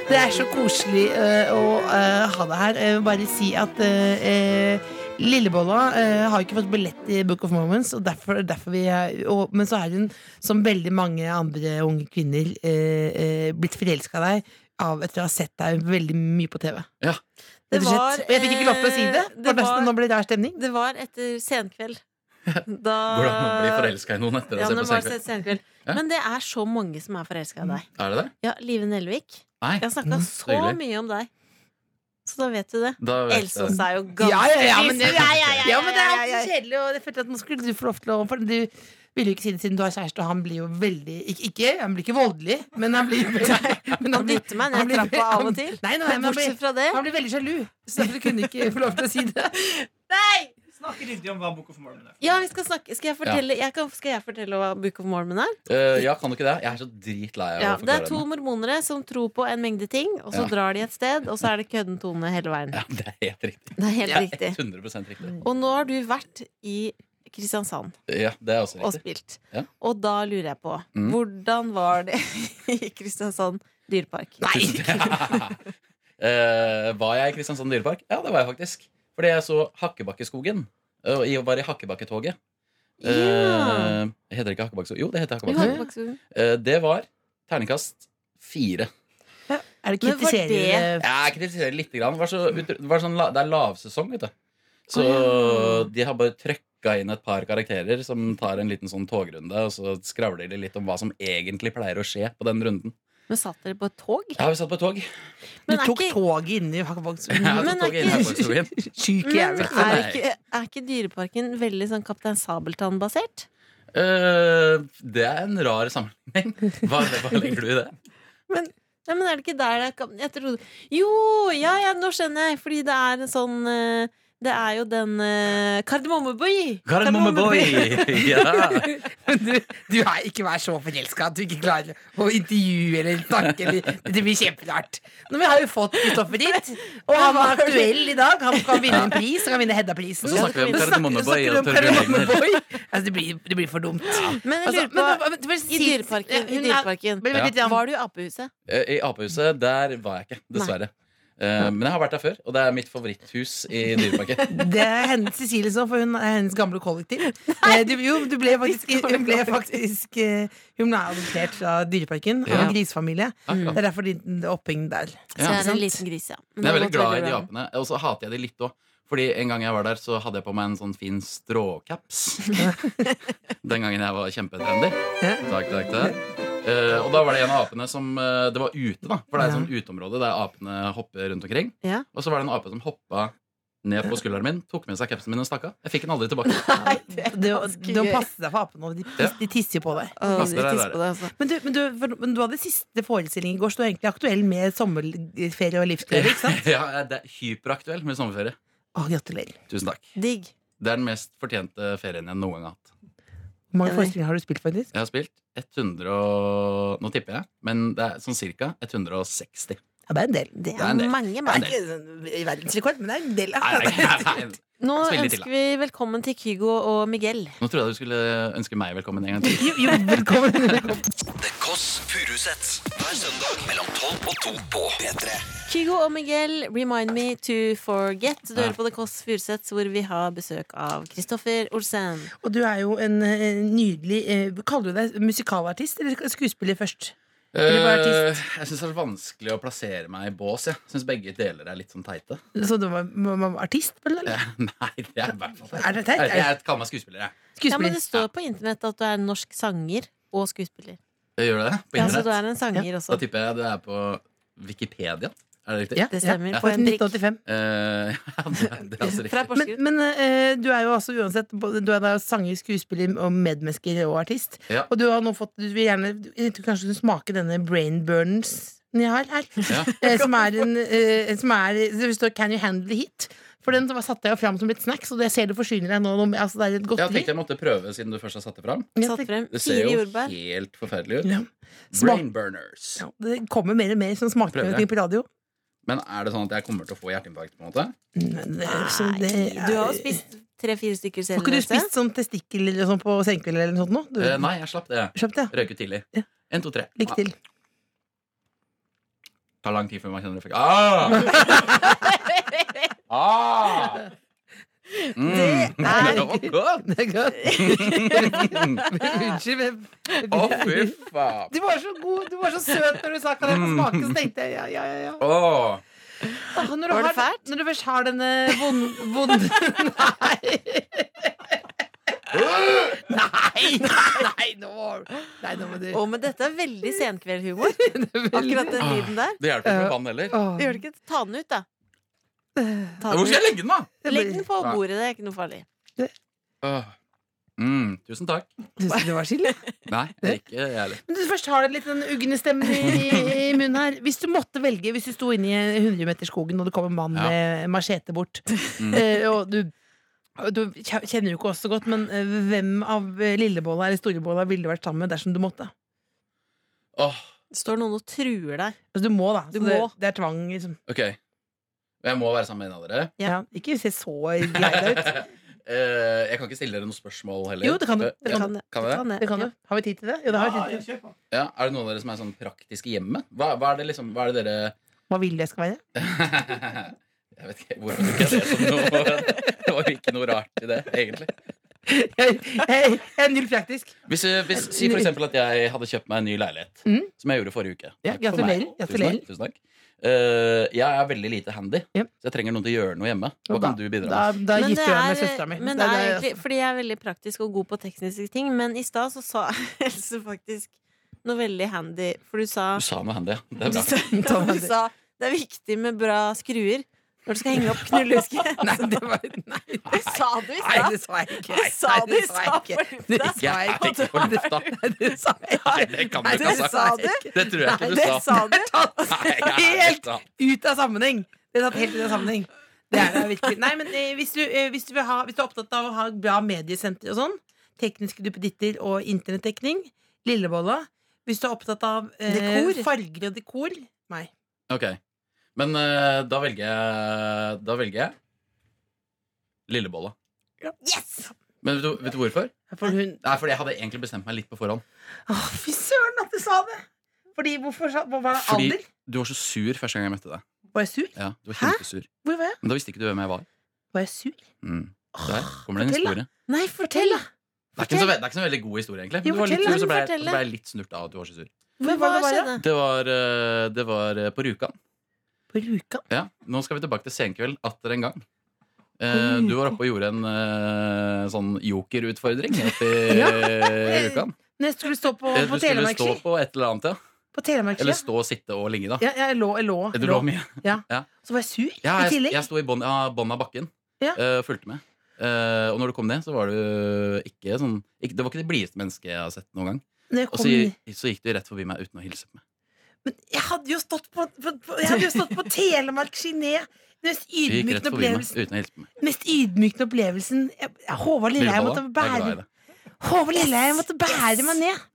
Speaker 3: Det er så koselig eh, å eh, ha deg her. Jeg vil bare si at eh, eh, Lillebolla eh, har ikke fått billett i Book of Moments, og derfor, derfor vi er, og, men så er hun, som veldig mange andre unge kvinner, eh, eh, blitt forelska i deg av, etter å ha sett deg veldig mye på TV.
Speaker 5: Ja.
Speaker 2: Det
Speaker 3: Rett og slett.
Speaker 2: var,
Speaker 3: og jeg fikk ikke lov til å si det,
Speaker 2: eh,
Speaker 3: for
Speaker 2: det var-
Speaker 3: resten, nå blir det rar stemning.
Speaker 2: Det var etter senkveld. Da
Speaker 5: Hvordan man blir forelska i noen etter å
Speaker 2: Ja,
Speaker 5: se
Speaker 2: det
Speaker 5: på
Speaker 2: var
Speaker 5: Senkveld.
Speaker 2: senkveld.
Speaker 5: Ja.
Speaker 2: Men det er så mange som er forelska i deg.
Speaker 5: Er det det?
Speaker 2: Ja, Live Nelvik.
Speaker 5: Nei.
Speaker 2: Jeg har snakka
Speaker 3: Mm,
Speaker 2: så
Speaker 5: hyggelig.
Speaker 2: mye om deg. Så da vet du det.
Speaker 5: Da vet
Speaker 2: Else
Speaker 5: jeg.
Speaker 2: også er jo ganske
Speaker 3: Ja, ja, ja, men det,
Speaker 2: Ja, ja, ja,
Speaker 3: ja, men det er
Speaker 2: ja, ja,
Speaker 3: alltid så kjedelig, og jeg følte at nå skulle du få lov til å For du ville jo ikke si det siden du har kjæreste, og han blir jo veldig Ikke, ikke han blir ikke voldelig, men han blir men
Speaker 2: Han dytter meg ned
Speaker 3: han blir-
Speaker 2: trappa av og til.
Speaker 3: Nei, nei,
Speaker 2: Men
Speaker 3: men han blir,
Speaker 2: bortsett fra det
Speaker 3: han blir veldig sjalu, så derfor kunne jeg ikke få lov til å si det.
Speaker 2: Nei!
Speaker 6: Snakke ryddig om hva Book of Mormon er.
Speaker 2: Ja, vi skal snakke Skal jeg fortelle, jeg kan, skal jeg fortelle hva Book of Mormon er?
Speaker 5: Eh, ja, kan du ikke det? Jeg er så dritlei av
Speaker 2: Ja,
Speaker 5: å
Speaker 2: det er
Speaker 5: forklare
Speaker 2: to mormonere som tror på en mengde ting, og så
Speaker 5: Ja.
Speaker 2: drar de et sted, og så er det kødden tone hele veien.
Speaker 5: Ja, det er helt riktig.
Speaker 2: Det er helt riktig.
Speaker 5: 100 riktig.
Speaker 2: Og nå har du vært i Kristiansand
Speaker 5: Ja, det er også
Speaker 2: og
Speaker 5: riktig.
Speaker 2: spilt.
Speaker 5: Ja.
Speaker 2: Og da lurer jeg på,
Speaker 5: Mm.
Speaker 2: hvordan var det i Kristiansand dyrepark?
Speaker 5: Eh, var jeg i Kristiansand dyrepark? Ja, det var jeg faktisk. Fordi jeg så Hakkebakkeskogen. eh, Og jeg var i Hakkebakketoget.
Speaker 2: Ja.
Speaker 5: Eh, heter det ikke Hakkebakkeskogen? Jo, det heter
Speaker 2: Vi
Speaker 5: Hakkebakkeskogen.
Speaker 2: har faktisk-
Speaker 5: Eh, det var terningkast fire.
Speaker 3: Er det
Speaker 2: Men var
Speaker 3: kritiserer det
Speaker 2: det-
Speaker 5: Jeg kritiserer litt. Grann. Det, var så, ut- det, var sånn, la- det er lavsesong, vet du. Så de har bare trøkka inn et par karakterer som tar en liten sånn togrunde, og så skravler de litt om hva som egentlig pleier å skje på den runden.
Speaker 2: Men satt dere på et tog?
Speaker 5: Ja, vi satt på et tog.
Speaker 3: Du
Speaker 2: Men er
Speaker 3: tok
Speaker 2: ikke-
Speaker 3: toget inn i
Speaker 5: Jeg
Speaker 3: Hakkebakksvognen.
Speaker 5: har
Speaker 2: Men
Speaker 5: tatt toget
Speaker 2: er
Speaker 5: inn her
Speaker 2: ikke-
Speaker 5: på Østforbyen.
Speaker 3: Syk
Speaker 2: Men
Speaker 3: jævel.
Speaker 5: ikke-
Speaker 2: er ikke, er ikke Dyreparken veldig sånn Kaptein Sabeltann-basert?
Speaker 5: Eh, det er en rar sammenligning. Hva, hva legger du i det?
Speaker 2: Nei, men er det ikke der det er kap- jeg trodde... Jo, ja, ja, nå skjønner jeg! Fordi det er en sånn eh, Det er jo den eh, Kardemommeby!
Speaker 5: Kardemommeboy! Ja.
Speaker 3: Du, du er ikke vær så forelska at du ikke klarer å intervjue eller snakke. Eller, det blir kjemperart. Nå, vi har jo fått Kristoffer hit, og han var aktuell i dag. Han kan vinne en pris. Han kan vinne
Speaker 5: Og
Speaker 3: Hedda-prisen.
Speaker 5: så snakker vi
Speaker 3: Så
Speaker 5: om
Speaker 3: snakker-
Speaker 5: Kardemommeboy
Speaker 3: snakker du
Speaker 5: og
Speaker 3: om
Speaker 5: Torbjørn Egner.
Speaker 3: Kardemommeboy. Altså, det, blir, det blir for dumt.
Speaker 2: Men jeg
Speaker 3: Altså,
Speaker 2: lurer på
Speaker 3: men, hva- hva- hva-
Speaker 2: I
Speaker 3: si-
Speaker 2: Dyreparken.
Speaker 3: Hun
Speaker 2: I
Speaker 3: er-
Speaker 2: dyreparken.
Speaker 3: Men vent litt, ja.
Speaker 2: Var du i apehuset?
Speaker 5: Eh, I apehuset, der var jeg ikke, dessverre. Eh, Men jeg har vært der før, og det er mitt favoritthus i Dyreparken.
Speaker 3: Det er henne Cecilie som, for hun er hennes gamle kollektiv. Eh, Du, jo, du ble faktisk, hun ble faktisk eh, Hun er adoptert fra Dyreparken, av
Speaker 5: Ja.
Speaker 3: en grisefamilie.
Speaker 5: Akkurat.
Speaker 3: Det er derfor din oppheng der.
Speaker 2: Så jeg er
Speaker 3: sant?
Speaker 2: en liten gris, ja. Men
Speaker 5: Men jeg er
Speaker 2: det har
Speaker 5: veldig glad
Speaker 2: gått
Speaker 5: i de
Speaker 2: veldig bra.
Speaker 5: apene. Og så hater jeg de litt òg. Fordi en gang jeg var der, så hadde jeg på meg en sånn fin stråcaps. Den gangen jeg var kjempetrendy. Takk, takk, takk. Eh, og da var det en av apene som eh, Det var ute, da. For det er et
Speaker 3: Ja.
Speaker 5: sånt uteområde der apene hopper rundt omkring.
Speaker 2: Ja.
Speaker 5: Og så var det en ape som hoppa ned på skulderen min, tok med seg capsen min og stakk av. Jeg fikk den aldri tilbake.
Speaker 3: Du, du må passe deg for apene. og De,
Speaker 5: Ja.
Speaker 3: de tisser jo på deg.
Speaker 2: Å,
Speaker 5: Passer
Speaker 2: de
Speaker 5: deg
Speaker 2: tisser
Speaker 5: der.
Speaker 2: på deg, altså.
Speaker 3: Men du, men, du, for, men du hadde siste forestilling i går, så du er egentlig aktuell med sommerferie og livsglede. ikke sant?
Speaker 5: ja, det er hyperaktuell med sommerferie.
Speaker 3: Å, gratulerer.
Speaker 5: Tusen takk.
Speaker 2: Digg.
Speaker 5: Det er den mest fortjente ferien jeg noen gang har hatt.
Speaker 3: Hvor mange
Speaker 2: Enig.
Speaker 3: forestillinger har du spilt, faktisk?
Speaker 5: Jeg har spilt 100 og Nå tipper jeg, men det er sånn cirka 160.
Speaker 3: Ja, det er en del.
Speaker 2: Det
Speaker 5: er
Speaker 2: er
Speaker 5: en del.
Speaker 2: mange,
Speaker 3: Det er
Speaker 2: mange.
Speaker 3: ikke sånn verdensrekord, men det er en del.
Speaker 5: Nei, nei, nei, nei.
Speaker 2: Nå
Speaker 5: Spill litt til,
Speaker 2: ønsker vi velkommen til Kygo og Miguel.
Speaker 5: Nå trodde jeg du skulle ønske meg velkommen en gang til.
Speaker 3: Jo, jo, velkommen. velkommen.
Speaker 1: The Koss Furusets. Hver søndag mellom 12 og 2 på P3.
Speaker 2: Kygo og Miguel, remind me to forget. Du hører på The Kåss Furuseths, hvor vi har besøk av Kristoffer Olsen.
Speaker 3: Og du er jo en eh, nydelig eh, Kaller du deg musikalartist eller skuespiller først? Eller bare
Speaker 5: Eh,
Speaker 3: artist.
Speaker 5: jeg syns det er vanskelig å plassere meg i bås. Jeg syns begge deler er litt sånn teite.
Speaker 3: Så du var, var, var artist, eller?
Speaker 5: Eh, Nei, det er i hvert fall
Speaker 3: Er det teit?
Speaker 5: Jeg, jeg kaller meg skuespiller, jeg.
Speaker 2: Ja, men
Speaker 3: Skuespiller.
Speaker 2: det står på internett at du er en norsk sanger og skuespiller.
Speaker 5: jeg gjør du det? På
Speaker 2: Ja, så du
Speaker 5: internett?
Speaker 2: er en sånn. sanger
Speaker 5: Da
Speaker 2: også.
Speaker 5: tipper jeg det er på Wikipedia. Er det riktig?
Speaker 3: Ja,
Speaker 2: Det stemmer.
Speaker 3: Ja.
Speaker 2: På en prikk.
Speaker 3: 1985.
Speaker 5: Eh, ja, det, er- det er altså
Speaker 2: Fra
Speaker 3: Men,
Speaker 5: riktig.
Speaker 2: Porsgrunn.
Speaker 3: men eh, du er jo altså uansett både- Du er da sanger, skuespiller, og medmennesker og artist.
Speaker 5: Ja.
Speaker 3: Og du har nå fått Du vil gjerne jeg tror Kanskje du smaker denne brain burners jeg har her.
Speaker 5: Ja.
Speaker 3: Eh, som er en eh, som er, Det står 'Can you handle the heat?' For den satte jeg jo fram som litt snacks, og jeg ser du forsyner deg nå. nå- Altså, det er et
Speaker 5: Jeg
Speaker 3: godteri.
Speaker 5: tenkte jeg måtte prøve, siden du først har satt det fram.
Speaker 3: Ja,
Speaker 2: Satt frem
Speaker 5: Det ser
Speaker 2: fire
Speaker 5: jo
Speaker 2: jordbær.
Speaker 5: helt forferdelig ut.
Speaker 3: Ja. Smak-
Speaker 5: Brain burners.
Speaker 3: Ja, det kommer mer og mer sånn smakeprøving på radio.
Speaker 5: Men er det sånn at jeg kommer til å få hjerteinfarkt? på en måte?
Speaker 3: Nei, Mm, det er- så det
Speaker 2: Nei,
Speaker 3: er-
Speaker 2: du har jo spist tre-fire stykker selv.
Speaker 3: Har ikke du
Speaker 2: Else.
Speaker 3: spist sånn testikkel eller sånn på senkveld eller noe sånt nå? Du,
Speaker 5: Eh, nei, jeg slapp det.
Speaker 3: Kjøpt det?
Speaker 5: Røyket tidlig.
Speaker 3: Mm. Ja.
Speaker 5: En, to, tre.
Speaker 3: Lykke til.
Speaker 5: Ah, tar lang tid før man kjenner effekt. Ah! ah! Mm.
Speaker 2: Det er-
Speaker 5: Det var godt!
Speaker 3: Det er godt. Unnskyld, men
Speaker 5: Å, fy faen.
Speaker 3: Du var så god, du var så søt når du sa kan jeg få smake, så tenkte jeg ja, ja, ja. ja.
Speaker 5: Åh.
Speaker 3: Åh, Ah, når, du
Speaker 2: Var det
Speaker 3: har,
Speaker 2: fælt?
Speaker 3: når du først har denne vond... vond nei. Nei, nei, nå Nei, nå må du
Speaker 2: Å, men dette er veldig senkveldhumor. Akkurat
Speaker 5: Ah.
Speaker 2: den lyden der.
Speaker 5: Det hjelper ikke med vann heller.
Speaker 3: Åh.
Speaker 2: Gjør det ikke? Ta den ut, da. Ta
Speaker 5: Hvor
Speaker 2: den
Speaker 5: skal jeg
Speaker 2: ut.
Speaker 5: legge den, da?
Speaker 2: Legg den på
Speaker 5: Nei.
Speaker 2: bordet, det er ikke noe farlig.
Speaker 5: Åh. Mm, tusen takk.
Speaker 3: Syns du det var skille?
Speaker 5: Nei, det er ikke jeg heller.
Speaker 3: Men du først har det litt den ugne stemmen i, i munnen her. Hvis du måtte velge, hvis du sto inne i 100-meterskogen og det kom en mann
Speaker 5: Ja.
Speaker 3: med machete bort eh, Og du, du kje- kjenner jo ikke oss så godt, men eh, hvem av eh, lillebolla eller storebolla ville du vært sammen med dersom du måtte?
Speaker 5: Åh,
Speaker 2: Står noen og truer deg?
Speaker 3: Altså du må, da.
Speaker 2: Du
Speaker 3: så det,
Speaker 2: må.
Speaker 3: det er tvang, liksom.
Speaker 5: ok. Jeg må være sammen med en av dere.
Speaker 2: Ja.
Speaker 3: Ja. Ikke se så grei deg ut.
Speaker 5: Eh, jeg kan ikke stille dere noen spørsmål heller.
Speaker 3: Jo, det kan du.
Speaker 5: Eh,
Speaker 3: Det
Speaker 5: ja,
Speaker 2: kan du.
Speaker 5: kan jeg det?
Speaker 2: Kan det.
Speaker 3: Det kan du. Har vi tid til det? Jo, det har vi tid til.
Speaker 6: kjør på.
Speaker 5: Ja, er det noen av dere som er sånn praktiske hjemme? Hva, hva er det liksom, hva er det dere
Speaker 3: Hva vil det skal være?
Speaker 5: Jeg vet ikke hvorfor tok jeg det som noe Det var jo ikke noe rart i det, egentlig.
Speaker 3: Jeg, jeg, jeg er null praktisk.
Speaker 5: Hvis, eh, hvis, si for eksempel at jeg hadde kjøpt meg en ny leilighet,
Speaker 3: Mm.
Speaker 5: som jeg gjorde forrige uke.
Speaker 3: Ja,
Speaker 5: Takk for
Speaker 3: gratulerer,
Speaker 5: meg.
Speaker 3: gratulerer.
Speaker 5: Tusen takk. Tusen takk. Eh, jeg er veldig lite handy,
Speaker 3: Ja.
Speaker 5: så jeg trenger noen til å gjøre noe hjemme. Hva kan du
Speaker 3: da,
Speaker 5: bidra med?
Speaker 3: da
Speaker 2: Men det
Speaker 3: gifter jeg meg med
Speaker 2: er-
Speaker 3: søstera mi.
Speaker 2: Men det er egentlig, fordi jeg er veldig praktisk og god på tekniske ting, men i stad så sa Else faktisk noe veldig handy, for du sa
Speaker 5: Du sa noe handy, ja. Det er
Speaker 2: Du
Speaker 5: bra.
Speaker 2: sa, du sa det er viktig med bra skruer når du skal henge opp knullehuske.
Speaker 3: Nei, det var Nei.
Speaker 2: Det sa du i
Speaker 3: Nei, det
Speaker 2: stad!
Speaker 3: sa jeg ikke.
Speaker 2: Du sa
Speaker 3: Nei,
Speaker 2: det i
Speaker 3: jeg
Speaker 2: stad
Speaker 3: ikke.
Speaker 2: på
Speaker 3: Det
Speaker 2: lufta.
Speaker 3: sa jeg
Speaker 5: Jeg er
Speaker 3: ikke.
Speaker 5: ikke på lufta.
Speaker 3: Nei, det sa jeg
Speaker 5: Nei,
Speaker 3: ikke. Nei,
Speaker 2: Det sa du!
Speaker 5: det kan du ikke ha sagt. Det tror jeg ikke du
Speaker 2: Det
Speaker 5: sa.
Speaker 2: sa du!
Speaker 5: Nei, jeg er
Speaker 3: Helt
Speaker 5: helt-
Speaker 3: ut av sammenheng. Det satt helt ut av sammenheng. Det er det virkelig. Nei, men eh, hvis du, eh, hvis, du vil ha, hvis du er opptatt av å ha bra mediesenter og sånn, tekniske duppeditter og internettdekning, lillebolla Hvis du er opptatt av eh,
Speaker 2: Dekor.
Speaker 3: farger og dekor Nei.
Speaker 5: Ok. Men eh, da velger jeg Da velger jeg Lillebolla.
Speaker 2: Yes!
Speaker 5: Men vet du, vet du hvorfor?
Speaker 3: For hun
Speaker 5: Nei, fordi jeg hadde egentlig bestemt meg litt på forhånd.
Speaker 3: Åh, fy søren at du sa det! Fordi hvorfor sa hva- Var det
Speaker 5: Fordi
Speaker 3: alder?
Speaker 5: du var så sur første gang jeg møtte deg.
Speaker 3: Var jeg sur?
Speaker 5: Ja, du var
Speaker 3: Hæ?
Speaker 5: kjempesur.
Speaker 3: Hvor var jeg?
Speaker 5: Men da visste ikke du hvem jeg var.
Speaker 3: Var jeg sur?
Speaker 5: Mm. Der kommer det
Speaker 3: Fortell,
Speaker 5: en
Speaker 3: da.
Speaker 5: historie.
Speaker 2: Nei,
Speaker 3: Fortell,
Speaker 2: fortell!
Speaker 3: da!
Speaker 5: Det er ikke en så, ve- det er ikke en så veldig god historie, egentlig.
Speaker 3: Jo,
Speaker 5: Men du var litt
Speaker 3: fortell,
Speaker 5: sur, så ble, jeg-
Speaker 2: fortell.
Speaker 5: så ble jeg litt snurt av at du var så sur.
Speaker 2: Men hva
Speaker 3: var det, da?
Speaker 2: skjedde?
Speaker 5: Det var, eh, det var eh, på Rjukan.
Speaker 3: På Rjukan?
Speaker 5: Ja, nå skal vi tilbake til senkveld atter en gang. Eh, du var oppe og gjorde en eh, sånn jokerutfordring oppe i eh, Rjukan.
Speaker 3: Når jeg skulle stå på,
Speaker 5: Eh,
Speaker 3: på
Speaker 5: Du skulle stå
Speaker 3: Telemarkski.
Speaker 5: på et eller annet, ja.
Speaker 3: På Telemarkski,
Speaker 5: Eller
Speaker 3: ja.
Speaker 5: stå, sitte og ligge, da.
Speaker 3: ja. Jeg lå, jeg lå,
Speaker 5: Du
Speaker 3: lå.
Speaker 5: lå mye.
Speaker 3: Så var jeg sur
Speaker 5: Ja,
Speaker 3: i
Speaker 5: jeg,
Speaker 3: tillegg.
Speaker 5: jeg sto i bånn ja, bånn av bakken.
Speaker 3: Ja.
Speaker 5: eh, fulgte med. Eh, og når du kom ned, så var du ikke sånn ikke, Det var ikke det blideste mennesket jeg har sett noen gang.
Speaker 3: Når jeg
Speaker 5: Og
Speaker 3: kom,
Speaker 5: så, så gikk du rett forbi meg uten å hilse på meg.
Speaker 3: men jeg hadde jo stått på, på, på, jeg hadde jo stått på Telemarkski ned. Den mest
Speaker 5: Du gikk rett
Speaker 3: ydmykende
Speaker 5: forbi meg
Speaker 3: opplevelsen.
Speaker 5: uten å hilse på meg.
Speaker 3: Mest ydmykende opplevelsen jeg, jeg, Håvard Lilleheie
Speaker 5: Lillevold,
Speaker 3: måtte
Speaker 5: da. Jeg er glad i
Speaker 3: bære
Speaker 5: deg.
Speaker 3: Håvard Lilleheie måtte bære meg ned.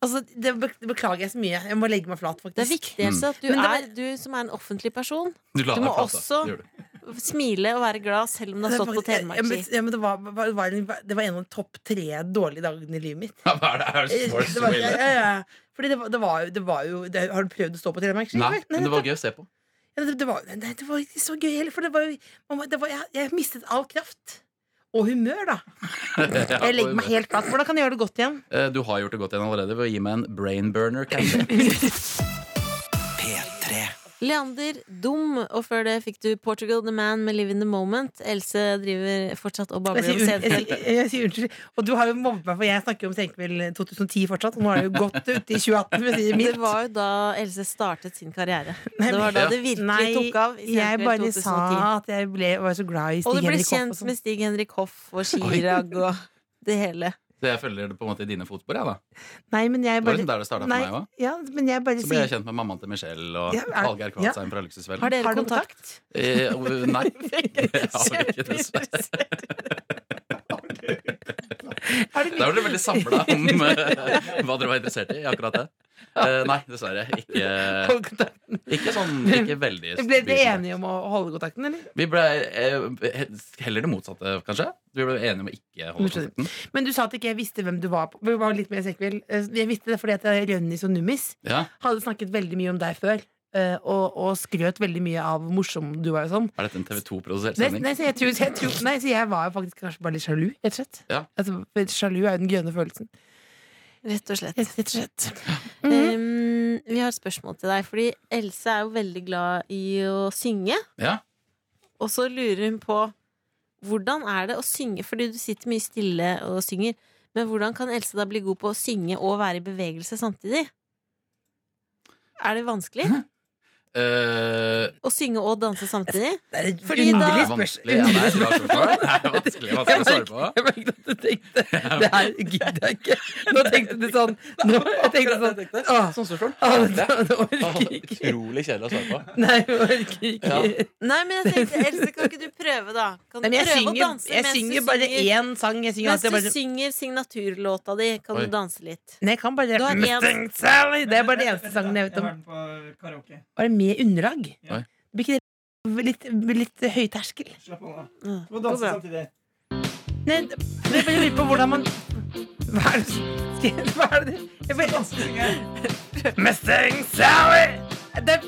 Speaker 3: Altså, det be- det beklager jeg så mye. Jeg må legge meg flat, faktisk.
Speaker 2: Det viktigste er at du,
Speaker 3: Mm. Men det var-
Speaker 2: er, du som er en offentlig person,
Speaker 5: Du, la
Speaker 2: Du
Speaker 5: deg
Speaker 2: må
Speaker 5: flate.
Speaker 2: også-
Speaker 5: Det gjorde du.
Speaker 2: smile og være glad selv om du har stått på
Speaker 3: Ja, men,
Speaker 2: Telemarkski.
Speaker 3: ja, men det, var, var, var, en- det var en av de topp tre dårlige dagene i livet mitt.
Speaker 5: Ja, hva er det? Er det
Speaker 3: Eh, Det
Speaker 5: så- så
Speaker 3: var,
Speaker 5: ille?
Speaker 3: ja, ja, ja. Fordi det var, det var jo, det var jo det, Har du prøvd å stå på Telemark?
Speaker 5: Nei, men det var
Speaker 3: det,
Speaker 5: gøy å se på.
Speaker 3: ja, det, det, var, nei, det var ikke så gøy heller. For det var jo man må- det var, jeg, jeg mistet all kraft. Og humør, da. Jeg legger meg helt flat. Hvordan kan jeg gjøre det godt igjen?
Speaker 5: Eh, Du har gjort det godt igjen allerede ved å gi meg en brain burner candy.
Speaker 1: P3.
Speaker 2: Leander Dum, og før det fikk du Portugal The Man med Live in the Moment. Else driver fortsatt og
Speaker 3: Jeg
Speaker 2: babler
Speaker 3: sier,
Speaker 2: om
Speaker 3: unn- jeg,
Speaker 2: scenen.
Speaker 3: sier, jeg sier unnskyld. Og du har jo mobbet meg, for jeg snakker jo om Senkveld 2010 fortsatt. Og nå er det jo godt ute i 2018. for å si det
Speaker 2: Det
Speaker 3: mildt.
Speaker 2: var jo da Else startet sin karriere.
Speaker 3: Nei,
Speaker 2: Det var da
Speaker 5: Ja.
Speaker 2: det virkelig
Speaker 3: Nei,
Speaker 2: tok av. i
Speaker 3: jeg
Speaker 2: Senkveld
Speaker 3: bare
Speaker 2: 2010.
Speaker 3: sa at jeg ble, var så glad i
Speaker 2: Og
Speaker 3: Stig
Speaker 2: du ble
Speaker 3: Henrik Hoff. og
Speaker 2: kjent
Speaker 3: sånn.
Speaker 2: med Stig-Henrik Hoff og Chirag og det hele.
Speaker 5: Så jeg følger det på en måte i dine fotspor. Jeg, da.
Speaker 3: Nei, men jeg
Speaker 5: Det var
Speaker 3: bare
Speaker 5: liksom der det startet for
Speaker 3: Nei,
Speaker 5: meg også.
Speaker 3: Ja, men jeg bare
Speaker 5: Så ble jeg
Speaker 3: sier
Speaker 5: kjent med mammaen til Michelle og
Speaker 3: Ja, er-
Speaker 5: Hallgeir Kvadsheim fra Luksusfellen.
Speaker 2: Har dere
Speaker 3: Har du
Speaker 2: kontakt?
Speaker 5: Eh, og- nei. Jeg har ikke dessverre. Da var dere veldig samla om eh, hva dere var interessert i. akkurat det Eh, Nei, dessverre. Ikke, ikke sånn ikke veldig.
Speaker 3: Ble dere enige om å holde kontakten, eller?
Speaker 5: Vi ble eh, heller det motsatte, kanskje. Vi ble enige om å ikke holde
Speaker 3: Skjønner.
Speaker 5: kontakten.
Speaker 3: Men du sa at ikke jeg visste hvem du var. på Vi var litt mer sekvel. Jeg visste det fordi at eh, Rønnis og Nummis
Speaker 5: Ja,
Speaker 3: hadde snakket veldig mye om deg før. eh, Og, og skrøt veldig mye av hvor morsom du var og sånn.
Speaker 5: Er dette en TV2-produsert
Speaker 3: Nei,
Speaker 5: sending?
Speaker 3: nei, så jeg tror, så jeg tror, nei, så jeg var jo faktisk kanskje bare litt sjalu, rett og slett.
Speaker 5: Ja.
Speaker 3: Altså, for sjalu er jo den grønne følelsen.
Speaker 2: Rett og slett.
Speaker 3: Rett og slett. Mm-hmm.
Speaker 2: um, vi har et spørsmål til deg, fordi Else er jo veldig glad i å synge.
Speaker 5: Ja.
Speaker 2: Og så lurer hun på hvordan er det å synge, fordi du sitter mye stille og synger. Men hvordan kan Else da bli god på å synge og være i bevegelse samtidig? Er det vanskelig
Speaker 5: Eh,
Speaker 2: å synge og danse samtidig?
Speaker 3: Det er et
Speaker 2: Fordi da-
Speaker 5: Det
Speaker 3: underlig
Speaker 5: er
Speaker 3: spørsmål.
Speaker 5: vanskelig. Ja, det er et rart spørsmål. Det er vanskelig, vanskelig å svare på.
Speaker 3: Jeg merket at du tenkte Det her gidder jeg ikke. Nå tenkte du sånn Nå jeg tenkte sånn Åh,
Speaker 5: Sånn spørsmål.
Speaker 3: åh, det det orker jeg ikke.
Speaker 5: Utrolig kjedelig å svare på.
Speaker 3: Nei, jeg orker ikke.
Speaker 5: Ja.
Speaker 2: Nei, men jeg tenkte, Else, kan ikke du prøve, da? Kan du
Speaker 3: Nei, men jeg
Speaker 2: prøve å
Speaker 3: synger,
Speaker 2: danse
Speaker 3: jeg
Speaker 2: mens du
Speaker 3: synger bare
Speaker 2: synger?
Speaker 3: én sang. Jeg synger
Speaker 2: Mens
Speaker 3: alltid
Speaker 2: du
Speaker 3: bare
Speaker 2: synger signaturlåta di, kan
Speaker 5: Oi.
Speaker 2: du danse litt.
Speaker 3: Nei, jeg kan bare
Speaker 2: Du har én-
Speaker 3: Mustang Sally. Det er bare den
Speaker 6: Vent,
Speaker 3: eneste
Speaker 6: vent,
Speaker 3: sangen jeg vet
Speaker 6: Jeg
Speaker 3: om.
Speaker 6: har den på karaoke.
Speaker 3: Var det med underlag?
Speaker 6: Ja.
Speaker 5: Oi.
Speaker 3: Blir ikke det litt, litt høy terskel?
Speaker 6: Slapp av, da.
Speaker 2: Mm.
Speaker 6: Du må
Speaker 2: Det går
Speaker 6: danse
Speaker 2: bra.
Speaker 6: samtidig.
Speaker 3: Nei, det- men jeg bare lurer på hvordan man Hva er det som- skal jeg- Hva er det Jeg bare
Speaker 6: Danse, synger jeg.
Speaker 3: Mustang Sally! Det er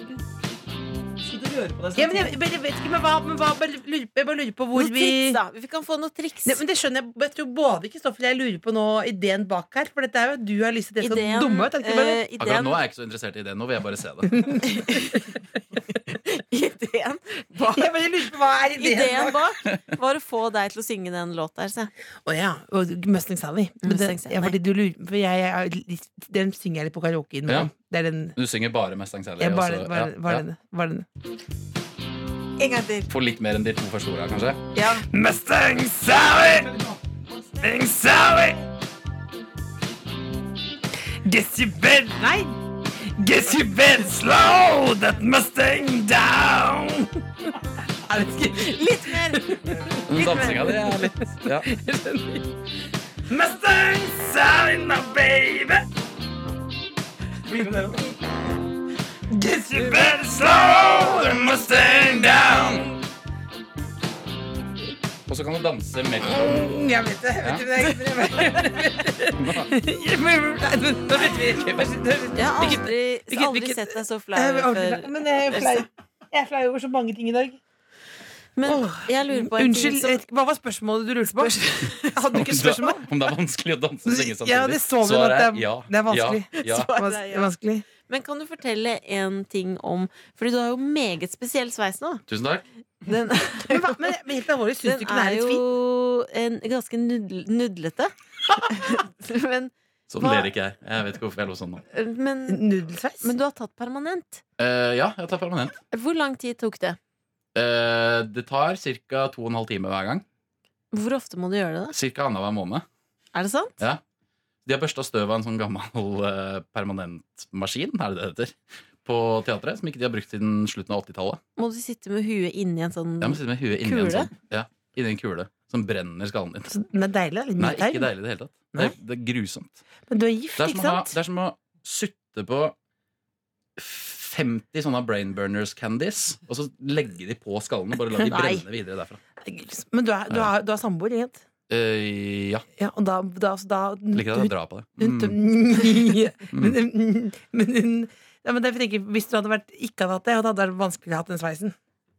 Speaker 6: Slutt å røre på deg.
Speaker 3: Ja, men jeg, jeg bare vet ikke, men hva, men hva bare lurer, Jeg bare lurer på hvor
Speaker 2: Noen
Speaker 3: vi
Speaker 2: triks, da. Vi kan få noen triks.
Speaker 3: Nei, men det skjønner jeg. Jeg tror både Kristoffer og jeg lurer på nå ideen bak her. For dette er jo at du har lyst til det så
Speaker 2: Ideen,
Speaker 3: dumme ut. er det ikke bare det?
Speaker 2: eh,
Speaker 5: Akkurat
Speaker 2: ideen,
Speaker 5: nå er jeg ikke så interessert i det. Nå vil jeg bare se det.
Speaker 2: ideen, bak,
Speaker 3: Jeg bare lurer på hva er ideen,
Speaker 2: ideen
Speaker 3: bak
Speaker 2: bak var å få deg til å synge den låta. Else.
Speaker 3: Å ja. Og Mustang Sally. Men det-
Speaker 2: Mustang Sally.
Speaker 3: Ja, fordi du lurer, for jeg, jeg, er litt- den synger jeg litt på karaoke nå.
Speaker 5: Ja.
Speaker 3: Det er den
Speaker 5: Du synger bare Mustang Sally.
Speaker 3: jeg
Speaker 5: og
Speaker 3: bare,
Speaker 5: så-
Speaker 3: bare,
Speaker 5: ja,
Speaker 3: bare,
Speaker 5: ja.
Speaker 3: den- bare den.
Speaker 2: En gang til.
Speaker 5: Få litt mer enn de to første ordene, kanskje.
Speaker 2: Ja.
Speaker 3: Mustang Sally! Mustang Sally! Guess you bet Nei! Guess you bet slow that Mustang down! Er det ikke
Speaker 2: Litt mer!
Speaker 5: Men dansinga di Mm. er litt ja.
Speaker 3: Mustang Sally, my baby!
Speaker 6: Blir med dere, da.
Speaker 3: Guess you bet slow that Mustang down!
Speaker 5: Og så kan du danse mellom
Speaker 3: mm, Jeg vet det. Jeg vet det. Jeg vet det. Nå vet vi.
Speaker 2: Jeg har aldri,
Speaker 3: Hvilket-
Speaker 2: aldri
Speaker 3: hvilket-
Speaker 2: sett deg så flau
Speaker 3: Jeg har aldri
Speaker 2: før.
Speaker 3: vært- Men jeg er flau. Jeg er flau over så mange ting i dag.
Speaker 2: Men
Speaker 3: Åh,
Speaker 2: jeg lurer på en
Speaker 3: Unnskyld,
Speaker 2: ting
Speaker 3: eh, hva var spørsmålet du lurte på? Hadde du ikke et spørsmål?
Speaker 5: Om det er vanskelig å danse og synge samtidig?
Speaker 3: Ja, det så vi nå
Speaker 5: Svaret
Speaker 3: at det er,
Speaker 5: er ja.
Speaker 3: det er vanskelig.
Speaker 5: Ja, ja.
Speaker 2: Svaret er
Speaker 3: Vans-
Speaker 2: ja.
Speaker 3: vanskelig.
Speaker 2: som, Men kan du fortelle en ting om Fordi du har jo meget spesiell sveis nå.
Speaker 5: Tusen takk.
Speaker 2: Den,
Speaker 3: Men, hva, men helt alvorlig, syns du
Speaker 2: den
Speaker 3: ikke den
Speaker 2: er
Speaker 3: er litt
Speaker 2: jo
Speaker 3: fin?
Speaker 2: en, ganske nudl- nudlete. men,
Speaker 5: Sånn
Speaker 2: Hva-
Speaker 5: ler ikke jeg. Jeg vet ikke hvorfor jeg lå sånn nå.
Speaker 2: men,
Speaker 3: Nudelsveis?
Speaker 2: men du har tatt permanent.
Speaker 5: Eh, ja, jeg tar permanent.
Speaker 2: Hvor lang tid tok det?
Speaker 5: Eh, det tar ca. 2 12 timer hver gang.
Speaker 2: Hvor ofte må du gjøre det?
Speaker 5: Ca. annenhver måned.
Speaker 2: da? Er det sant?
Speaker 5: Ja. De har børsta støv av en sånn gammel eh, permanentmaskin, er det det heter, på teatret, som ikke de har brukt siden slutten av 80-tallet.
Speaker 2: Må du sitte med huet inni en sånn
Speaker 5: Jeg
Speaker 3: Mm.
Speaker 5: må sitte med huet inni en
Speaker 2: Kule?
Speaker 5: sånn. Ja, inni en kule som brenner skallen din.
Speaker 3: Så Den er deilig. da, Litt mye
Speaker 5: Nei, ikke
Speaker 3: teig.
Speaker 5: deilig i det hele tatt. Det er, det er grusomt.
Speaker 3: Men du er gift,
Speaker 5: Det er,
Speaker 3: ikke
Speaker 5: som å ha,
Speaker 3: sant?
Speaker 5: det er som å sutte på 50 sånne brain burners candies, og så legge de på skallen og bare la de
Speaker 3: Nei.
Speaker 5: brenne videre derfra.
Speaker 3: Men du er, du er, du er samboer, ikke sant?
Speaker 5: Eh, ja.
Speaker 3: Ja, og da, da, så da
Speaker 5: Liker at jeg drar på det.
Speaker 3: Hun,
Speaker 5: Mm.
Speaker 3: men, men, hun ja, men jeg tenker, Hvis du hadde vært, ikke hadde hatt det, hadde det vært vanskeligere å ha hatt den sveisen.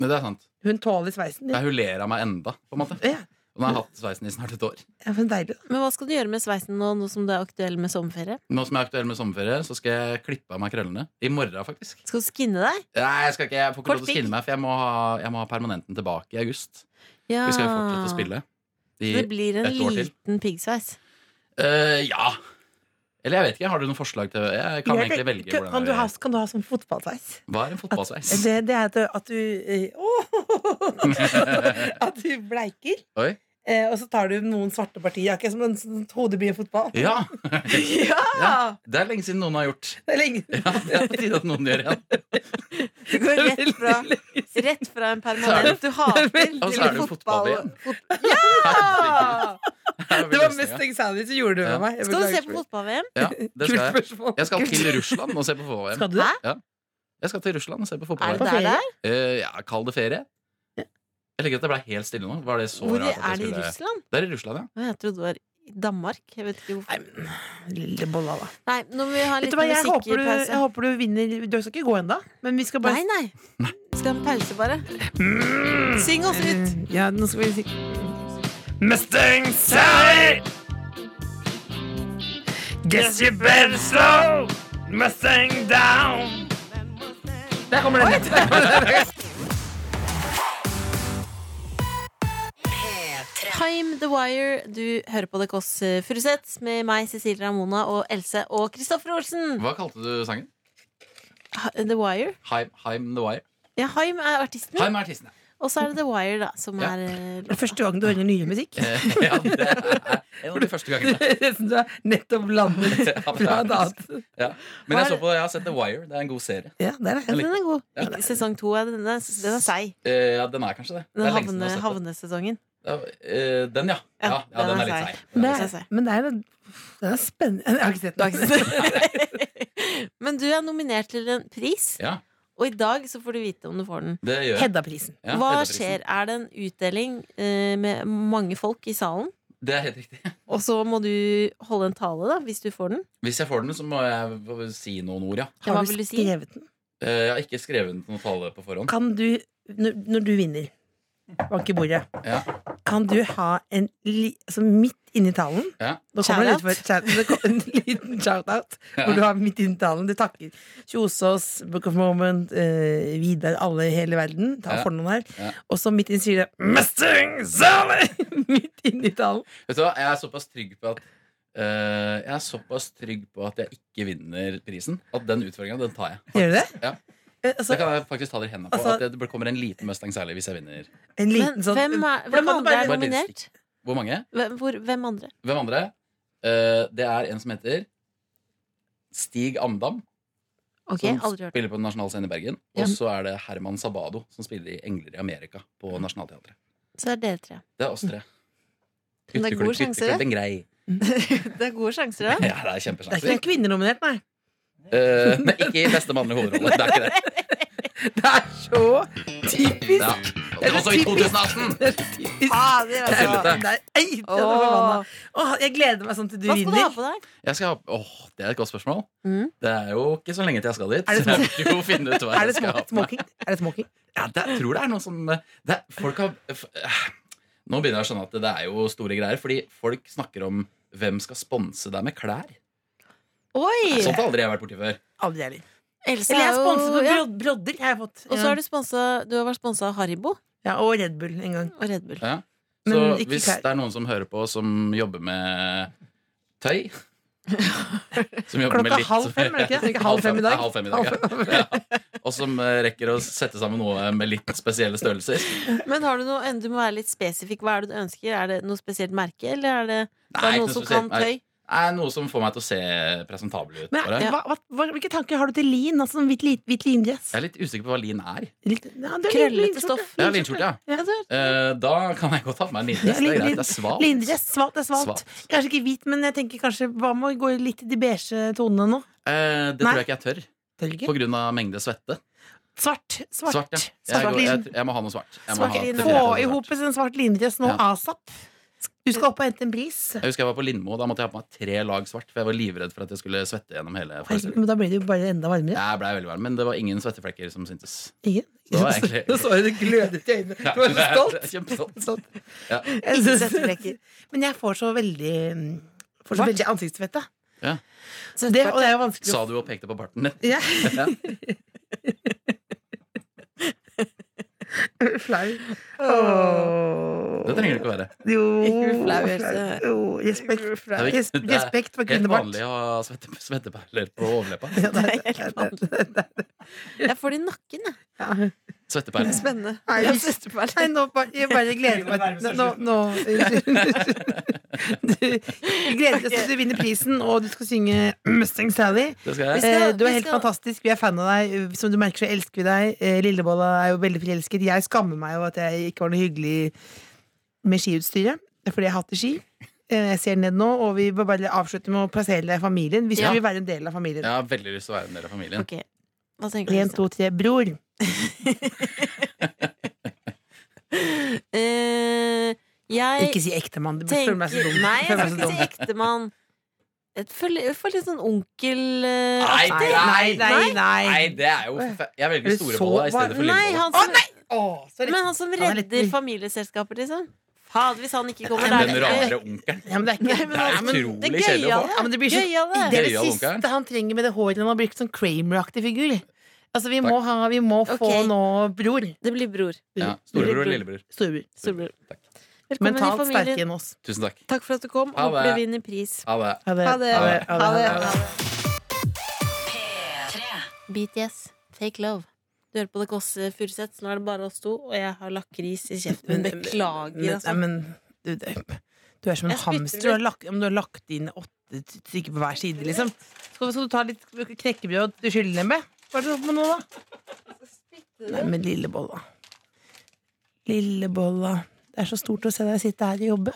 Speaker 5: Men det er sant.
Speaker 3: Hun tåler sveisen.
Speaker 5: Ja,
Speaker 3: Ja.
Speaker 5: hun ler av meg enda, på en måte.
Speaker 3: Ja,
Speaker 5: Og nå har jeg hatt sveisen i snart et år.
Speaker 3: ja, men deilig. da.
Speaker 2: Men hva skal du gjøre med sveisen nå, nå som du er aktuell med sommerferie?
Speaker 5: Nå som jeg er aktuell med sommerferie, så skal jeg klippe av meg krøllene. I morgen, faktisk.
Speaker 2: Skal du skinne deg?
Speaker 5: Nei, jeg, skal ikke, jeg får ikke
Speaker 2: Kort
Speaker 5: lov til å
Speaker 2: pigg.
Speaker 5: skinne meg, for jeg må, ha, jeg må ha permanenten tilbake i august.
Speaker 2: Ja.
Speaker 5: Vi skal jo
Speaker 3: Ah.
Speaker 5: fortsette å spille. I,
Speaker 2: Det blir en
Speaker 5: et år til.
Speaker 2: liten piggsveis.
Speaker 5: Eh, ja. Eller jeg vet ikke. Har du noen forslag til Jeg kan
Speaker 3: Jeg
Speaker 5: egentlig
Speaker 3: tenker-
Speaker 5: velge
Speaker 3: kan,
Speaker 5: hvordan
Speaker 3: kan, du
Speaker 5: jeg
Speaker 3: ha, kan du ha sånn fotballsveis?
Speaker 5: Hva er en fotballsveis?
Speaker 3: Det, det er at, du- at du eh, åh, At du bleiker,
Speaker 5: Oi.
Speaker 3: eh, og så tar du noen svarte partier. Akkurat som en sånn hodebry i fotball.
Speaker 5: Ja!
Speaker 3: Ja!
Speaker 5: Det er lenge siden noen har gjort.
Speaker 3: Det er lenge
Speaker 5: Ja, det er på tide at noen gjør igjen.
Speaker 2: Du går rett fra, rett fra en permanent du hater,
Speaker 5: Og så er det jo fotball igjen.
Speaker 3: Ah!
Speaker 5: Herregud.
Speaker 3: Det var mest eksamen som gjorde det
Speaker 5: Ja.
Speaker 3: med meg. Jeg
Speaker 2: Skal du se
Speaker 3: beklager.
Speaker 2: på fotball-VM?
Speaker 5: Ja, det skal jeg.
Speaker 3: Kult spørsmål.
Speaker 5: Jeg skal til Russland og se på fotball.
Speaker 3: Skal du det?
Speaker 5: Jeg skal til Russland og se
Speaker 2: Er
Speaker 5: på
Speaker 2: det
Speaker 5: fotball.
Speaker 3: På
Speaker 2: der
Speaker 3: ferie?
Speaker 2: det er?
Speaker 5: Eh, ja, kall det ferie. Jeg liker at det ble helt stille nå. Var det så
Speaker 2: Hvor
Speaker 5: rart
Speaker 2: er
Speaker 5: at jeg
Speaker 2: det i
Speaker 5: skulle...
Speaker 2: Russland?
Speaker 5: Det er i Russland, ja.
Speaker 2: Å, Jeg trodde det var i Danmark. Jeg vet ikke hvorfor.
Speaker 3: Nei, men, lille bolla, da.
Speaker 2: Nei, nå må vi ha
Speaker 3: Vet
Speaker 2: litt
Speaker 3: du hva, jeg håper du, jeg
Speaker 2: musikkpause.
Speaker 3: håper du vinner. Du skal ikke gå ennå, men vi skal bare
Speaker 2: Nei, nei. Skal ha en pause, bare. Syng oss ut.
Speaker 3: Ja, nå skal vi si
Speaker 7: Mustang Sally. Guess you better slow Mustang down.
Speaker 3: Der kommer den!
Speaker 2: Time The Wire. Du hører på The Kåss Furuseth med meg, Cecilie Ramona, og Else og Kristoffer Olsen.
Speaker 5: Hva kalte du sangen?
Speaker 2: Ha- The Wire.
Speaker 5: Heim, Heim The Wire.
Speaker 2: Ja, Haim er artisten.
Speaker 5: Heim er artisten, ja.
Speaker 2: Og så er det The Wire, da, som
Speaker 5: Ja.
Speaker 2: er eh,
Speaker 3: Det er første gang du hører nyere musikk.
Speaker 5: Eh, ja. Det er en av de første gangene.
Speaker 3: Som du har nettopp landet
Speaker 5: Ja, det
Speaker 3: fra
Speaker 5: er
Speaker 3: et
Speaker 5: det.
Speaker 3: annet.
Speaker 5: Ja. Men jeg, så på, jeg har sett The Wire. Det er en god serie.
Speaker 3: Ja, der er
Speaker 2: Ja,
Speaker 3: jeg.
Speaker 2: den er god.
Speaker 5: Ja, det er-
Speaker 2: eh, Sesong to er denne. Den er seig.
Speaker 5: Eh, ja, den er kanskje det. det
Speaker 2: Den
Speaker 5: er lenge siden
Speaker 2: havne,
Speaker 5: jeg har sett den.
Speaker 2: havnesesongen.
Speaker 5: Ja, eh, den, ja.
Speaker 2: Ja,
Speaker 5: Ja, ja, den er litt seig.
Speaker 3: Men
Speaker 2: Det er
Speaker 3: det er,
Speaker 2: seg.
Speaker 3: men det er, en- den er spennende. Jeg har ikke sett
Speaker 2: Du har
Speaker 3: den.
Speaker 2: ikke sett den. Men du er nominert til en pris,
Speaker 5: Ja,
Speaker 2: og i dag så får du vite om du får den.
Speaker 5: det gjør jeg.
Speaker 3: Hedda-prisen.
Speaker 5: Ja,
Speaker 2: Hva
Speaker 5: Hedda-prisen.
Speaker 2: skjer? Er det en utdeling eh, med mange folk i salen?
Speaker 5: Det er helt riktig.
Speaker 2: Og så må du holde en tale, da, hvis du får den.
Speaker 5: Hvis jeg får den, så må jeg si noen ord, ja.
Speaker 2: hva
Speaker 3: Har du
Speaker 2: vil du si?
Speaker 3: skrevet den?
Speaker 5: Eh, Jeg har ikke skrevet noen tale på forhånd.
Speaker 3: Kan du, når når du vinner Bank i bordet.
Speaker 5: Ja.
Speaker 3: Kan du ha en li, altså midt inni talen
Speaker 5: Ja.
Speaker 3: Nå kommer det
Speaker 2: Shout-out.
Speaker 3: utenfor- shout- det kom en liten shout-out hvor du har midt inni talen. Du takker Kjosås, Book of Moment, eh, Vidar, alle i hele verden. Ta
Speaker 5: Ja.
Speaker 3: fornavn her.
Speaker 5: Ja.
Speaker 3: Og så midt inni sier du Mustang Sally! midt inni talen.
Speaker 5: Vet du hva, jeg er såpass trygg på at eh, Jeg er såpass trygg på at jeg ikke vinner prisen. At den utfordringa, den tar jeg.
Speaker 3: Gjør du det?
Speaker 5: Ja.
Speaker 3: Eh,
Speaker 5: Det
Speaker 3: Altså,
Speaker 5: kan jeg faktisk ta dere i hendene på.
Speaker 3: Altså-
Speaker 5: at det kommer en liten Mustang særlig hvis jeg vinner.
Speaker 3: en liten
Speaker 2: Men
Speaker 3: sånn
Speaker 2: hvem, er,
Speaker 3: For da kan
Speaker 2: hvem
Speaker 3: du
Speaker 2: andre
Speaker 3: bare-
Speaker 2: er
Speaker 5: Bare litt
Speaker 2: nominert?
Speaker 5: Hvor mange?
Speaker 2: Hvem, hvor, hvem andre?
Speaker 5: Hvem andre? Eh, det er en som heter Stig Amdam,
Speaker 2: Ok,
Speaker 5: som
Speaker 2: aldri hørt.
Speaker 5: spiller på Nasjonal Scene i Bergen.
Speaker 2: Ja.
Speaker 5: Og så er det Herman Sabado, som spiller i Engler i Amerika på Nationaltheatret.
Speaker 2: Så er dere tre.
Speaker 5: Det er oss tre.
Speaker 2: Men det er gode
Speaker 5: Hytteklubb,
Speaker 2: sjanser,
Speaker 5: hytteklubb, en grei.
Speaker 2: det er gode sjanser, da.
Speaker 5: Ja,
Speaker 3: Det er
Speaker 5: det er
Speaker 3: ikke
Speaker 5: kjempesjanser.
Speaker 3: en kvinne nominert, nei.
Speaker 5: Eh, nei, ikke i beste mannlige hovedrolle. Det er ikke det.
Speaker 3: Det er så typisk!
Speaker 5: Ja. Ah, Det var så i 2018!
Speaker 3: Det er så typisk.
Speaker 2: Fader,
Speaker 3: Det er,
Speaker 2: altså.
Speaker 5: Helvete.
Speaker 3: det er, ei, den er
Speaker 2: Åh.
Speaker 3: forbanna. Åh, jeg gleder meg sånn til du
Speaker 2: Hva skal du ha
Speaker 3: vinner.
Speaker 2: på deg?
Speaker 5: Jeg skal ha Åh, det er et godt spørsmål.
Speaker 2: Mm.
Speaker 5: Det er jo ikke så lenge til jeg skal dit.
Speaker 3: Er det
Speaker 5: så jeg må jo finne ut hva
Speaker 3: Er det
Speaker 5: jeg skal ha
Speaker 3: smoking?
Speaker 5: på meg.
Speaker 3: smoking? Er det smoking?
Speaker 5: Ja, det, jeg tror det er noe som eh, det, er- Folk har f- eh, Nå begynner jeg å skjønne at det er jo store greier, fordi folk snakker om hvem skal sponse deg med klær? Sånt
Speaker 2: Oi!
Speaker 5: har aldri jeg vært borti før.
Speaker 3: Aldri heller.
Speaker 2: Else
Speaker 3: Eller jeg
Speaker 2: er
Speaker 3: er
Speaker 2: jo
Speaker 3: sponset på
Speaker 2: ja.
Speaker 3: brod brodder. Har jeg fått.
Speaker 2: Og så har du, sponset, du har vært sponsa av Haribo
Speaker 3: ja, og Red Bull en gang.
Speaker 2: og Red Bull.
Speaker 5: Ja.
Speaker 3: Men
Speaker 5: Så
Speaker 3: ikke
Speaker 5: hvis
Speaker 3: klær.
Speaker 5: det er noen som hører på, som jobber med tøy som jobber
Speaker 3: Klokka halv fem, er det ikke det? Ikke halv fem i dag?
Speaker 5: Ja, Halv fem i dag, ja. ja. Og som eh, rekker å sette sammen noe med litt spesielle størrelser.
Speaker 2: Men har du noe Du må være litt spesifikk. Hva er det du ønsker? Er det noe spesielt merke, eller er det, det
Speaker 5: Nei,
Speaker 2: er
Speaker 5: ikke
Speaker 2: noen
Speaker 5: noe
Speaker 2: som kan
Speaker 5: spesielt. Nei.
Speaker 2: tøy?
Speaker 5: er noe som får meg til å se presentabel ut.
Speaker 3: Men
Speaker 5: Bare.
Speaker 3: hva, hva, hva, hvilke tanker har du til lin? Altså sånn hvitt, hvitt, hvitt lindress?
Speaker 5: Jeg er litt usikker på hva lin er.
Speaker 3: Litt- ja, det er
Speaker 2: Krøllete
Speaker 3: linskjorte.
Speaker 2: stoff.
Speaker 5: Ja, linskjorte, ja.
Speaker 3: Ja, det
Speaker 5: Eh, da kan jeg godt ha på meg en lindress. Det er greit, det er
Speaker 3: er-
Speaker 5: svalt.
Speaker 3: Lindress. Svalt er svalt.
Speaker 5: Svalt.
Speaker 3: Kanskje ikke hvit, men jeg tenker kanskje hva med å gå litt i de beige tonene nå?
Speaker 5: Eh, det tror jeg ikke jeg tør,
Speaker 3: Tør ikke?
Speaker 5: på grunn av mengde svette.
Speaker 3: Svart. Svart.
Speaker 5: Svart, ja. Jeg,
Speaker 3: Svart
Speaker 5: går, jeg,
Speaker 3: lin.
Speaker 5: jeg må ha noe svart. Jeg, må
Speaker 2: Svart
Speaker 5: ha
Speaker 2: lin.
Speaker 5: definitivt
Speaker 3: Få
Speaker 5: noe
Speaker 3: i
Speaker 5: svart.
Speaker 3: hop en svart lindress nå
Speaker 5: Ja.
Speaker 3: asap. Du skal opp og hente en pris.
Speaker 5: jeg husker jeg var på Lindmo. Da måtte jeg ha på meg tre lag svart. For jeg var livredd for at jeg skulle svette gjennom hele
Speaker 3: Herregud,
Speaker 5: forestillingen.
Speaker 3: Men da blir det jo bare enda varmere.
Speaker 5: Jeg ble veldig varm, men det var ingen svetteflekker som syntes.
Speaker 3: Ingen?
Speaker 5: Det var egentlig-
Speaker 3: Nå så jeg det glødet i øynene. Du var så stolt.
Speaker 5: Kjempestolt.
Speaker 3: Stolt.
Speaker 5: Ja.
Speaker 3: Jeg
Speaker 2: Ikke
Speaker 3: synes-
Speaker 2: svetteflekker.
Speaker 3: Men jeg får så veldig mm, Får så
Speaker 5: Svart.
Speaker 3: veldig ansiktsfette.
Speaker 5: Ja.
Speaker 3: Så Det, og det er jo vanskelig å
Speaker 5: Sa du og pekte på parten din.
Speaker 3: ja.
Speaker 5: Ja.
Speaker 3: Flau. Åh.
Speaker 5: Det trenger det ikke å være.
Speaker 3: Jo,
Speaker 2: Ikke bli flau, Else.
Speaker 3: Jo, respekt,
Speaker 5: Det er
Speaker 3: res,
Speaker 5: viktig. Det er
Speaker 3: respekt for
Speaker 5: Helt
Speaker 3: kvinnebart.
Speaker 5: vanlig å ha svette, svetteperler på overleppa.
Speaker 3: Ja, det er helt vanlig.
Speaker 2: Jeg får det i nakken, jeg.
Speaker 3: Ja.
Speaker 5: Svetteperler.
Speaker 2: Spennende.
Speaker 3: Nei,
Speaker 2: Jeg
Speaker 3: vi-
Speaker 2: setter på
Speaker 3: Nei,
Speaker 2: meg litt.
Speaker 3: nå bare, jeg bare gleder meg Nå, nå, nå unnskyld, unnskyld. Du- Jeg gleder meg til du vinner prisen, og du skal synge Mustang Sally.
Speaker 5: Det skal jeg.
Speaker 2: skal-
Speaker 3: Eh, Du
Speaker 2: vi
Speaker 3: er helt
Speaker 2: skal-
Speaker 3: fantastisk. Vi er fan av deg. Som du merker, så elsker vi deg. Eh, Lillebolla er jo veldig forelsket. Jeg skammer meg over at jeg ikke var noe hyggelig med skiutstyret, fordi jeg hater ski. Eh, Jeg ser ned nå, og vi bør bare avslutte med å plassere deg i familien. Hvis
Speaker 5: Ja.
Speaker 3: du vil være en del av familien.
Speaker 5: Jeg har veldig lyst til å være en del av familien.
Speaker 2: Ok, hva tenker du?
Speaker 3: En,
Speaker 2: Else?
Speaker 3: to, tre, bror.
Speaker 2: Eh, jeg
Speaker 3: Ikke si ektemann. Du
Speaker 2: tenker
Speaker 3: føler meg så dum.
Speaker 2: Nei,
Speaker 3: Du
Speaker 2: jeg
Speaker 3: føler meg
Speaker 2: skal
Speaker 3: så
Speaker 2: ikke
Speaker 3: dum.
Speaker 2: si ektemann. Jeg føler, jeg føler litt sånn onkel eh,
Speaker 5: Nei,
Speaker 2: aktig.
Speaker 3: Nei, nei,
Speaker 5: Nei,
Speaker 3: nei.
Speaker 5: det er jo forfe- Jeg
Speaker 3: Er
Speaker 5: velger
Speaker 3: du så
Speaker 5: Storebolla i stedet for
Speaker 2: Nei,
Speaker 5: Lillebolla.
Speaker 2: han som,
Speaker 3: Åh, sorry.
Speaker 2: men han
Speaker 3: Han
Speaker 2: som
Speaker 3: er litt-
Speaker 2: redder familieselskaper, liksom. Fader, hvis han ikke kommer
Speaker 5: Den
Speaker 2: der
Speaker 5: rare onkelen.
Speaker 3: Ja, men det er ikke
Speaker 2: Nei, men
Speaker 5: Det er
Speaker 2: altså,
Speaker 5: utrolig
Speaker 2: det
Speaker 5: kjedelig å få.
Speaker 2: gøyale.
Speaker 3: Ja, men det blir så-
Speaker 2: Gøyale.
Speaker 3: Det er det
Speaker 5: Gøyal onkelen.
Speaker 3: siste han trenger med det håret. Han har brukt sånn Kramer-aktig figur. Altså, vi må, ha, vi må få
Speaker 2: Ok.
Speaker 3: nå bror.
Speaker 2: Det blir bror.
Speaker 5: Ja, storebror og lillebror.
Speaker 3: Storebror.
Speaker 2: Storbror.
Speaker 5: Takk.
Speaker 2: Velkommen i
Speaker 3: Mentalt
Speaker 2: familien.
Speaker 3: sterkere enn oss.
Speaker 5: Tusen takk.
Speaker 2: Takk for at du kom.
Speaker 5: Ha
Speaker 2: Håper
Speaker 5: det.
Speaker 2: du vinner pris.
Speaker 5: Ha det.
Speaker 2: Ha det.
Speaker 3: Ha det. Ha det.
Speaker 2: Ha BTS, Fake Love. Du hører på Det Kåss Furuseth. Nå er det bare oss to, og jeg har lakris i kjeften.
Speaker 3: Men-
Speaker 2: min. Beklager,
Speaker 3: men-
Speaker 2: altså.
Speaker 3: Nei, men du, det- du er som en
Speaker 2: Jeg spytter
Speaker 3: hamster. Du har, lagt, men du har lagt inn åtte stykker på hver side, liksom. Skal, skal du ta litt knekkebrød til kyllinglemme? Hva er det du har på med nå, da? Nei, men lille bolla. Lille bolla. Det er så stort å se deg sitte her og jobbe.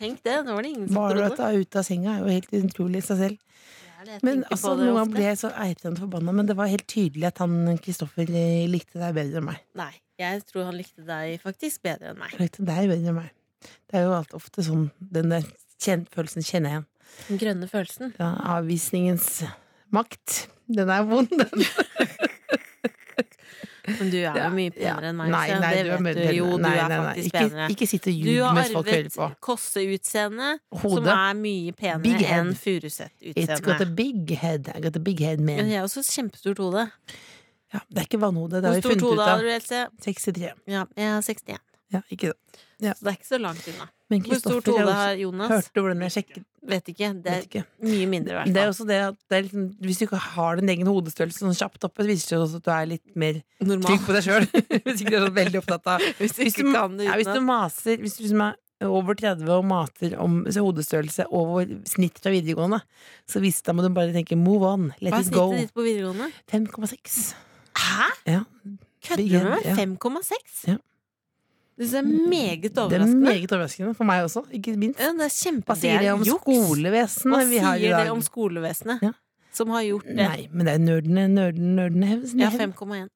Speaker 2: Tenk det. Nå var det ingen som
Speaker 3: Bare å
Speaker 2: trodde.
Speaker 3: ta ut av senga er jo helt utrolig i seg selv.
Speaker 2: Det er det. Jeg
Speaker 3: Men
Speaker 2: tenker
Speaker 3: altså,
Speaker 2: på det
Speaker 3: noen ganger
Speaker 2: ofte.
Speaker 3: ble jeg så eitrende forbanna, men det var helt tydelig at han Kristoffer eh, likte deg bedre enn meg.
Speaker 2: Nei, jeg tror han likte deg faktisk bedre enn meg.
Speaker 3: Likte deg bedre enn meg. Det er jo alt ofte sånn. Den der kjen følelsen kjenner jeg igjen.
Speaker 2: Den grønne følelsen.
Speaker 3: Ja, avvisningens makt. Den er vond, den.
Speaker 2: Men du er jo mye penere enn meg.
Speaker 3: Nei,
Speaker 2: så
Speaker 3: nei,
Speaker 2: det
Speaker 3: du
Speaker 2: vet
Speaker 3: er mer
Speaker 2: du.
Speaker 3: penere.
Speaker 2: Jo, du
Speaker 3: Nei,
Speaker 2: er
Speaker 3: nei, nei.
Speaker 2: faktisk
Speaker 3: ikke,
Speaker 2: penere.
Speaker 3: Ikke sitt og
Speaker 2: Du
Speaker 3: ljug
Speaker 2: har
Speaker 3: mens folk hører
Speaker 2: arvet
Speaker 3: på.
Speaker 2: Kåsse-utseende, som
Speaker 3: Hodet.
Speaker 2: er mye
Speaker 3: Big
Speaker 2: penere
Speaker 3: head.
Speaker 2: enn
Speaker 3: It's got a
Speaker 2: Furuseth-utseende.
Speaker 3: big head. I got a big head,
Speaker 2: Men
Speaker 3: man.
Speaker 2: jeg har også kjempestort hode.
Speaker 3: Ja, det er ikke vannhode, det
Speaker 2: Hvor
Speaker 3: har vi
Speaker 2: stort
Speaker 3: funnet ut
Speaker 2: hode har
Speaker 3: av.
Speaker 2: du, Else?
Speaker 3: 63.
Speaker 2: Ja, jeg har 61.
Speaker 3: Ja, ikke sant.
Speaker 2: Så det er ikke så langt unna.
Speaker 3: Men
Speaker 2: Hvor stort
Speaker 3: Kristoffer
Speaker 2: hode
Speaker 3: har
Speaker 2: har Jonas?
Speaker 3: Hørte hvordan jeg sjekket?
Speaker 2: Vet ikke. Det
Speaker 3: Vet
Speaker 2: er
Speaker 3: ikke.
Speaker 2: mye mindre, i hvert
Speaker 3: Det er
Speaker 2: fall.
Speaker 3: også det at det er liksom, hvis du ikke har din egen hodestørrelse sånn kjapt oppe, det viser det også at du er litt mer trygg
Speaker 2: Normalt.
Speaker 3: på deg sjøl. hvis ikke du er sånn veldig opptatt av
Speaker 2: Hvis du
Speaker 3: Hvis du,
Speaker 2: ikke kan det
Speaker 3: ja, hvis du
Speaker 2: utenat.
Speaker 3: maser Hvis du liksom er over 30 og mater om så hodestørrelse over snitt fra videregående, så hvis, da må du bare tenke move on, let
Speaker 2: Hva er
Speaker 3: it go.
Speaker 2: snittet ditt på videregående?
Speaker 3: 5,6.
Speaker 2: Hæ?
Speaker 3: Ja.
Speaker 2: Kødder
Speaker 3: Big
Speaker 2: du med
Speaker 3: head, ja.
Speaker 2: meg? 5,6?
Speaker 3: Ja.
Speaker 2: Det synes jeg er meget
Speaker 3: Det er
Speaker 2: overraskende.
Speaker 3: meget overraskende for meg også, ikke minst.
Speaker 2: Ja, det er kjempe...
Speaker 3: Hva sier det
Speaker 2: er
Speaker 3: om
Speaker 2: juks.
Speaker 3: skolevesenet
Speaker 2: Hva
Speaker 3: vi har i
Speaker 2: sier det
Speaker 3: dag?
Speaker 2: om skolevesenet?
Speaker 3: Ja.
Speaker 2: som har gjort det.
Speaker 3: Nei, men det er nerdene, nerdene, nerdene hevn.
Speaker 2: Ja, 5,1.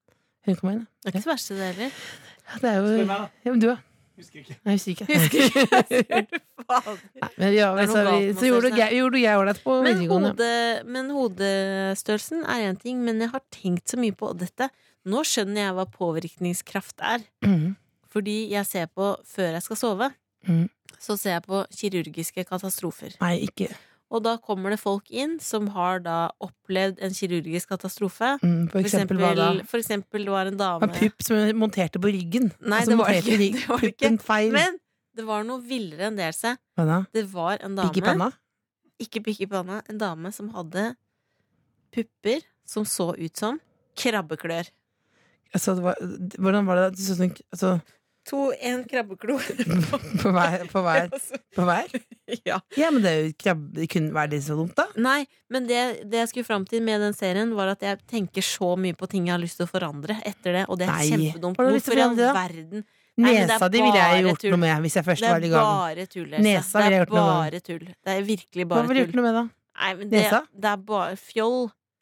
Speaker 3: Hun kommer inn, da.
Speaker 2: Det er ikke så verst, det heller.
Speaker 3: Ja, det er jo
Speaker 6: Spør meg, da.
Speaker 3: ja, men Du, da?
Speaker 6: Husker ikke.
Speaker 3: Nei, jeg husker ikke.
Speaker 2: Husker ikke. Fader.
Speaker 3: Nei, men ja,
Speaker 2: Det er noe
Speaker 3: så,
Speaker 2: galt
Speaker 3: vi,
Speaker 2: med
Speaker 3: så gjorde
Speaker 2: oss,
Speaker 3: du jeg gjorde jeg ålreit på
Speaker 2: Men,
Speaker 3: videregående.
Speaker 2: hode, men hodestørrelsen er én ting, men jeg har tenkt så mye på dette. Nå skjønner jeg hva påvirkningskraft er.
Speaker 3: Mhm.
Speaker 2: Fordi jeg ser på, før jeg skal sove,
Speaker 3: Mhm.
Speaker 2: så ser jeg på kirurgiske katastrofer.
Speaker 3: Nei, ikke
Speaker 2: Og da kommer det folk inn som har da opplevd en kirurgisk katastrofe.
Speaker 3: mm, For
Speaker 2: For
Speaker 3: eksempel hva da?
Speaker 2: eksempel, for eksempel det var en dame
Speaker 3: En pupp som jeg monterte på ryggen.
Speaker 2: Nei,
Speaker 3: Altså,
Speaker 2: det var det
Speaker 3: monterte
Speaker 2: ikke.
Speaker 3: rygg-
Speaker 2: Det var det
Speaker 3: Puppen feil.
Speaker 2: Men det var noe villere enn det. Else.
Speaker 3: hva da?
Speaker 2: Det var en dame
Speaker 3: Pikk i panna?
Speaker 2: ikke pikk i panna, en dame som hadde pupper som så ut som krabbeklør.
Speaker 3: Altså, det var, hvordan var det? da? Du så sånn altså,
Speaker 2: To, én krabbeklo.
Speaker 3: på, hver, på, hver, på hver?
Speaker 2: ja.
Speaker 3: Ja, men det, er jo krabbe, det kunne være det så dumt, da.
Speaker 2: Nei, men det, det jeg skulle fram til med den serien, var at jeg tenker så mye på ting jeg har lyst til å forandre etter det, og det er
Speaker 3: Nei.
Speaker 2: kjempedumt.
Speaker 3: Hva har du lyst til å
Speaker 2: Hvorfor i all
Speaker 3: forandre, da?
Speaker 2: verden? Nei, men det er
Speaker 3: Nesa di ville jeg
Speaker 2: bare
Speaker 3: gjort
Speaker 2: tull.
Speaker 3: noe med hvis jeg først
Speaker 2: Det
Speaker 3: var
Speaker 2: er
Speaker 3: i gang.
Speaker 2: bare tull. Else.
Speaker 3: Nesa ville
Speaker 2: det
Speaker 3: jeg
Speaker 2: er
Speaker 3: gjort noe med.
Speaker 2: bare tull. Det er virkelig
Speaker 3: Hva
Speaker 2: bare
Speaker 3: ville du gjort
Speaker 2: tull.
Speaker 3: noe med, da?
Speaker 2: Nei, men det,
Speaker 3: Nesa? Mm,
Speaker 2: det er bare fjoll.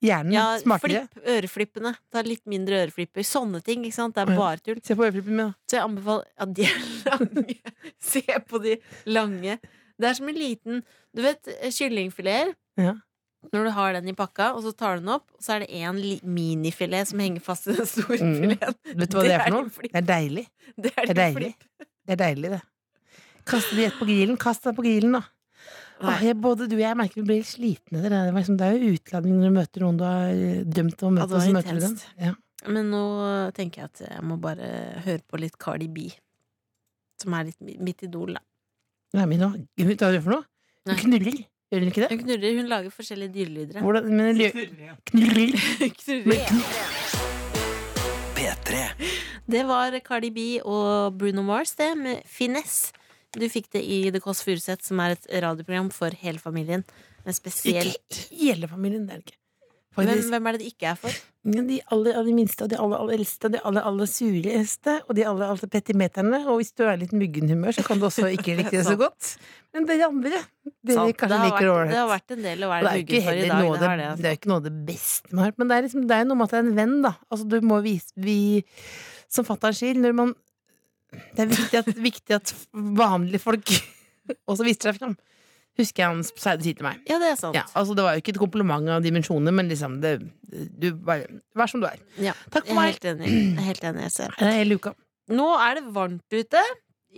Speaker 3: Hjernen?
Speaker 2: Ja,
Speaker 3: Smartere?
Speaker 2: flipp øreflippene. Ta litt mindre øreflipper. Sånne ting. ikke sant? Det
Speaker 3: Å,
Speaker 2: er
Speaker 3: ja.
Speaker 2: bare tull.
Speaker 3: Se på øreflippen min, da.
Speaker 2: Så jeg anbefaler Ja, de er lange. Se på de lange. Det er som en liten Du vet eh, kyllingfileter.
Speaker 3: Ja.
Speaker 2: Når du har den i pakka, og så tar du den opp, så er det én minifilet som henger fast i den store
Speaker 3: Mm.
Speaker 2: fileten.
Speaker 3: Vet du hva det er for noe?
Speaker 2: din flipp.
Speaker 3: Det er deilig.
Speaker 2: Det er
Speaker 3: Det er
Speaker 2: din
Speaker 3: deilig.
Speaker 2: flipp.
Speaker 3: Det er deilig, det. Kast det rett på grillen. Kast deg på grillen, da. Åh,
Speaker 2: Nei,
Speaker 3: jeg, både du og jeg merker vi blir slitne. etter Det Det var liksom, det er jo utladning når du møter noen du har eh, drømt om å
Speaker 2: Ja,
Speaker 3: møte.
Speaker 2: det var
Speaker 3: og så møter du dem.
Speaker 2: intenst.
Speaker 3: Ja.
Speaker 2: Men nå eh, tenker jeg at jeg må bare høre på litt Cardi B. Som er litt mi- mitt idol, da.
Speaker 3: Nei, men nå, Gud, hva er det for noe?
Speaker 2: Nei.
Speaker 3: Hun knuller. Gjør hun ikke det?
Speaker 2: Hun knurrer. Hun lager forskjellige dyrelyder.
Speaker 3: Hvordan, men hun gjør-
Speaker 6: Knurre, ja.
Speaker 3: knuller.
Speaker 2: Knurrer.
Speaker 1: P3.
Speaker 2: Det var Cardi B og Bruno Mars, det, med Finesse. Du fikk det i The Kåss Furuseth, som er et radioprogram for hele familien. Men spesielt
Speaker 3: Ikke hele familien, det er det ikke.
Speaker 2: hvem,
Speaker 3: Faktisk,
Speaker 2: hvem er det det ikke er for?
Speaker 3: men, de aller, aller minste, og de aller, aller eldste, og de aller, aller sureste, og de aller, aller petimeterne. Og hvis du er litt muggen humør, så kan du også ikke like det så godt. Men dere andre, dere
Speaker 2: Sant.
Speaker 3: kanskje
Speaker 2: har
Speaker 3: liker
Speaker 2: vært,
Speaker 3: ålreit.
Speaker 2: det har vært en del å
Speaker 3: Og
Speaker 2: være
Speaker 3: det er jo ikke
Speaker 2: muggen for i
Speaker 3: heller
Speaker 2: dag.
Speaker 3: noe,
Speaker 2: Det har det,
Speaker 3: det,
Speaker 2: altså.
Speaker 3: det er jo ikke noe av det beste man har hørt, men det er, liksom, det er jo noe med at det er en venn, da. Altså, du må vise vi, Som fatter'n sier, når man Det er viktig at, viktig at vanlige folk også viser seg fram. Husker jeg han pleide å si til meg.
Speaker 2: Ja, det er sant.
Speaker 3: Ja, altså, det var jo ikke et kompliment av dimensjoner, men liksom det, Du bare Vær som du er.
Speaker 2: Ja,
Speaker 3: Takk for
Speaker 2: Jeg er
Speaker 3: meg.
Speaker 2: helt enig. Jeg er helt enig jeg ser.
Speaker 3: Det er hele uka.
Speaker 2: Nå er det varmt ute.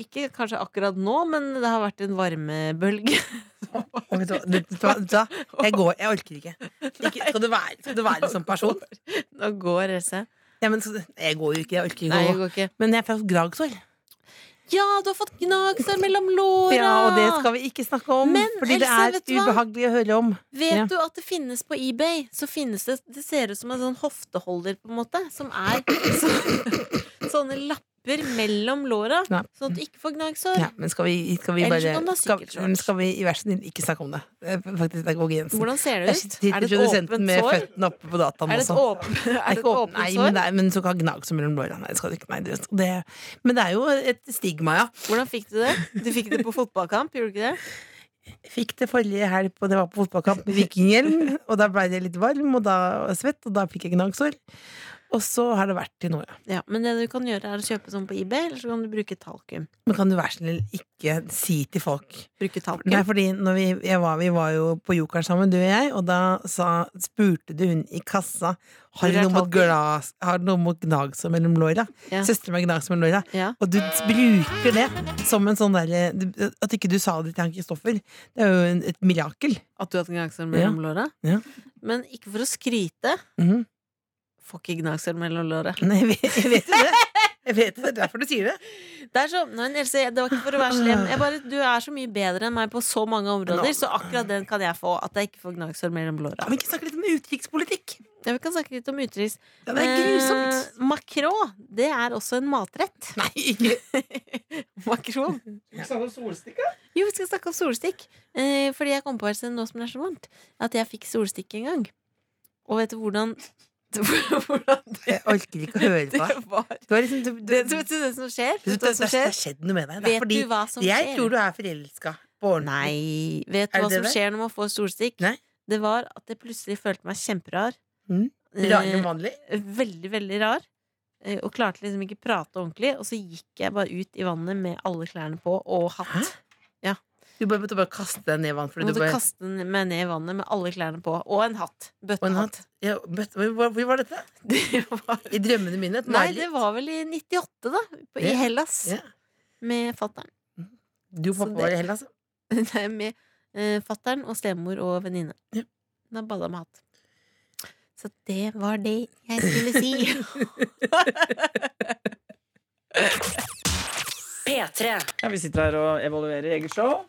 Speaker 2: Ikke kanskje akkurat nå, men det har vært en varmebølge.
Speaker 3: Og vet du hva- vet du hva- vet du hva? Jeg går. Jeg orker ikke. ikke skal, du være, skal du være en sånn person?
Speaker 2: Nå går Else.
Speaker 3: Ja, men, så- jeg går jo ikke. Jeg orker
Speaker 2: Nei,
Speaker 3: ikke
Speaker 2: det
Speaker 3: å gå.
Speaker 2: går ikke.
Speaker 3: Men jeg er fra Gragsår.
Speaker 2: Ja, du har fått gnagsår mellom låra!
Speaker 3: Ja, og det skal vi ikke snakke om,
Speaker 2: Men,
Speaker 3: fordi det
Speaker 2: Else,
Speaker 3: er
Speaker 2: vet du hva?
Speaker 3: ubehagelig å høre om.
Speaker 2: Vet
Speaker 3: Ja.
Speaker 2: du at det finnes på eBay? Så finnes det Det ser ut som en sånn hofteholder, på en måte. Som er så, sånne lapper mellom låra,
Speaker 3: Ja.
Speaker 2: sånn at du ikke får gnagsår.
Speaker 3: Ja, men skal vi, skal vi
Speaker 2: Ellers
Speaker 3: bare
Speaker 2: kan du ha
Speaker 3: skal,
Speaker 2: sykkelshorts.
Speaker 3: men skal vi i vær så snill ikke snakke om det? Det er Faktisk, det går grensen.
Speaker 2: Hvordan ser det
Speaker 3: Jeg
Speaker 2: ut?
Speaker 3: sitter
Speaker 2: Er det et
Speaker 3: produsenten
Speaker 2: åpent
Speaker 3: med
Speaker 2: sår?
Speaker 3: føttene oppe på dataen
Speaker 2: Er det et
Speaker 3: også.
Speaker 2: åpent, er
Speaker 3: Det er
Speaker 2: det et
Speaker 3: ikke åpent, nei,
Speaker 2: åpent
Speaker 3: men,
Speaker 2: sår?
Speaker 3: det er, men så kan gnag som mellom blåra. Nei, det skal du ikke. Nei, det, det, men det er jo et stigma, ja.
Speaker 2: Hvordan fikk du det? Du fikk det på fotballkamp, gjorde du ikke det?
Speaker 3: Jeg fikk det forrige helg, og det var på fotballkamp med Vikinghjelm. og da ble det litt varm, og da og svett, og da fikk jeg gnagsår. Og så har det vært til nå, ja.
Speaker 2: Ja, Men det du kan gjøre, er å kjøpe sånn på eBay, eller så kan du bruke talkum.
Speaker 3: Men kan du være så snill ikke si til folk
Speaker 2: Bruke talkum.
Speaker 3: Nei, fordi når vi, jeg var, vi var jo på Jokeren sammen, du og jeg, og da sa, spurte du hun i kassa Har du
Speaker 2: Hvor er
Speaker 3: noe mot,
Speaker 2: takken?»
Speaker 3: glas, har du noe mot gnagsår mellom låra.
Speaker 2: Ja.
Speaker 3: Søsteren min har gnagsår mellom låra.
Speaker 2: Ja.
Speaker 3: Og du bruker det som en sånn derre At ikke du sa det til han Kristoffer, det er jo en, et mirakel.
Speaker 2: At du har hatt gnagsår mellom låra?
Speaker 3: Ja.
Speaker 2: Men ikke for å skryte.
Speaker 3: Mhm.
Speaker 2: Får ikke gnagsår mellom låra.
Speaker 3: Nei, jeg, vet, jeg vet jo det. Jeg vet det, det er derfor du sier det.
Speaker 2: Det er så, nei, Else, det var ikke for å være slem. Jeg bare, du er så mye bedre enn meg på så mange områder,
Speaker 3: Nå.
Speaker 2: så akkurat den kan jeg få. At jeg ikke får gnagsår mellom låra.
Speaker 3: Kan vi ikke snakke litt om utenrikspolitikk?
Speaker 2: Ja, vi kan snakke litt om utenriks.
Speaker 3: Ja, det er grusomt.
Speaker 2: Eh, makrå, det er også en matrett.
Speaker 3: Nei, ikke
Speaker 2: Makron.
Speaker 6: Skal vi snakke om solstikka?
Speaker 2: Jo, vi skal snakke om solstikk. Eh, fordi jeg kom på Else, nå som det er så varmt, at jeg fikk solstikk en gang. Og vet du hvordan Hvordan det,
Speaker 3: Eh, Jeg orker ikke å høre på deg.
Speaker 2: det var?
Speaker 3: Du har liksom du, du,
Speaker 2: Det, vet du det som skjer?
Speaker 3: det,
Speaker 2: Vet du hva som
Speaker 3: det har
Speaker 2: skjer?
Speaker 3: skjedd noe med deg. Det er
Speaker 2: Vet
Speaker 3: fordi
Speaker 2: du hva som skjer?
Speaker 3: jeg tror du er forelska på ordentlig.
Speaker 2: Nei. Vet
Speaker 3: Er
Speaker 2: du hva
Speaker 3: det
Speaker 2: som
Speaker 3: det?
Speaker 2: skjer når man får solstikk?
Speaker 3: Nei.
Speaker 2: det var at jeg plutselig følte meg kjemperar.
Speaker 3: Mm. Rarere enn vanlig.
Speaker 2: Eh, veldig, veldig rar. eh, Og klarte liksom ikke prate ordentlig. Og så gikk jeg bare ut i vannet med alle klærne på og hatt.
Speaker 3: Du bare måtte bare kaste deg ned i vann. Fordi
Speaker 2: Jeg
Speaker 3: du
Speaker 2: måtte
Speaker 3: bare,
Speaker 2: kaste meg ned i vannet med alle klærne på. Og en hatt.
Speaker 3: og en
Speaker 2: Bøttehatt.
Speaker 3: hatt. Ja, men hvor, hvor var dette?
Speaker 2: Det var-
Speaker 3: I drømmene mine? Et
Speaker 2: Nei,
Speaker 3: mareritt?
Speaker 2: det var vel i 98, da. På,
Speaker 3: Ja.
Speaker 2: I Hellas.
Speaker 3: Ja.
Speaker 2: Med fatter'n.
Speaker 3: Du og
Speaker 2: Så
Speaker 3: pappa
Speaker 2: det-
Speaker 3: var i Hellas? altså.
Speaker 2: Nei, med eh, fatter'n og stemor og venninne.
Speaker 3: Ja.
Speaker 2: Da bada med hatt. Så det var det jeg skulle si.
Speaker 8: P3.
Speaker 6: Ja, vi sitter her og evaluerer eget show.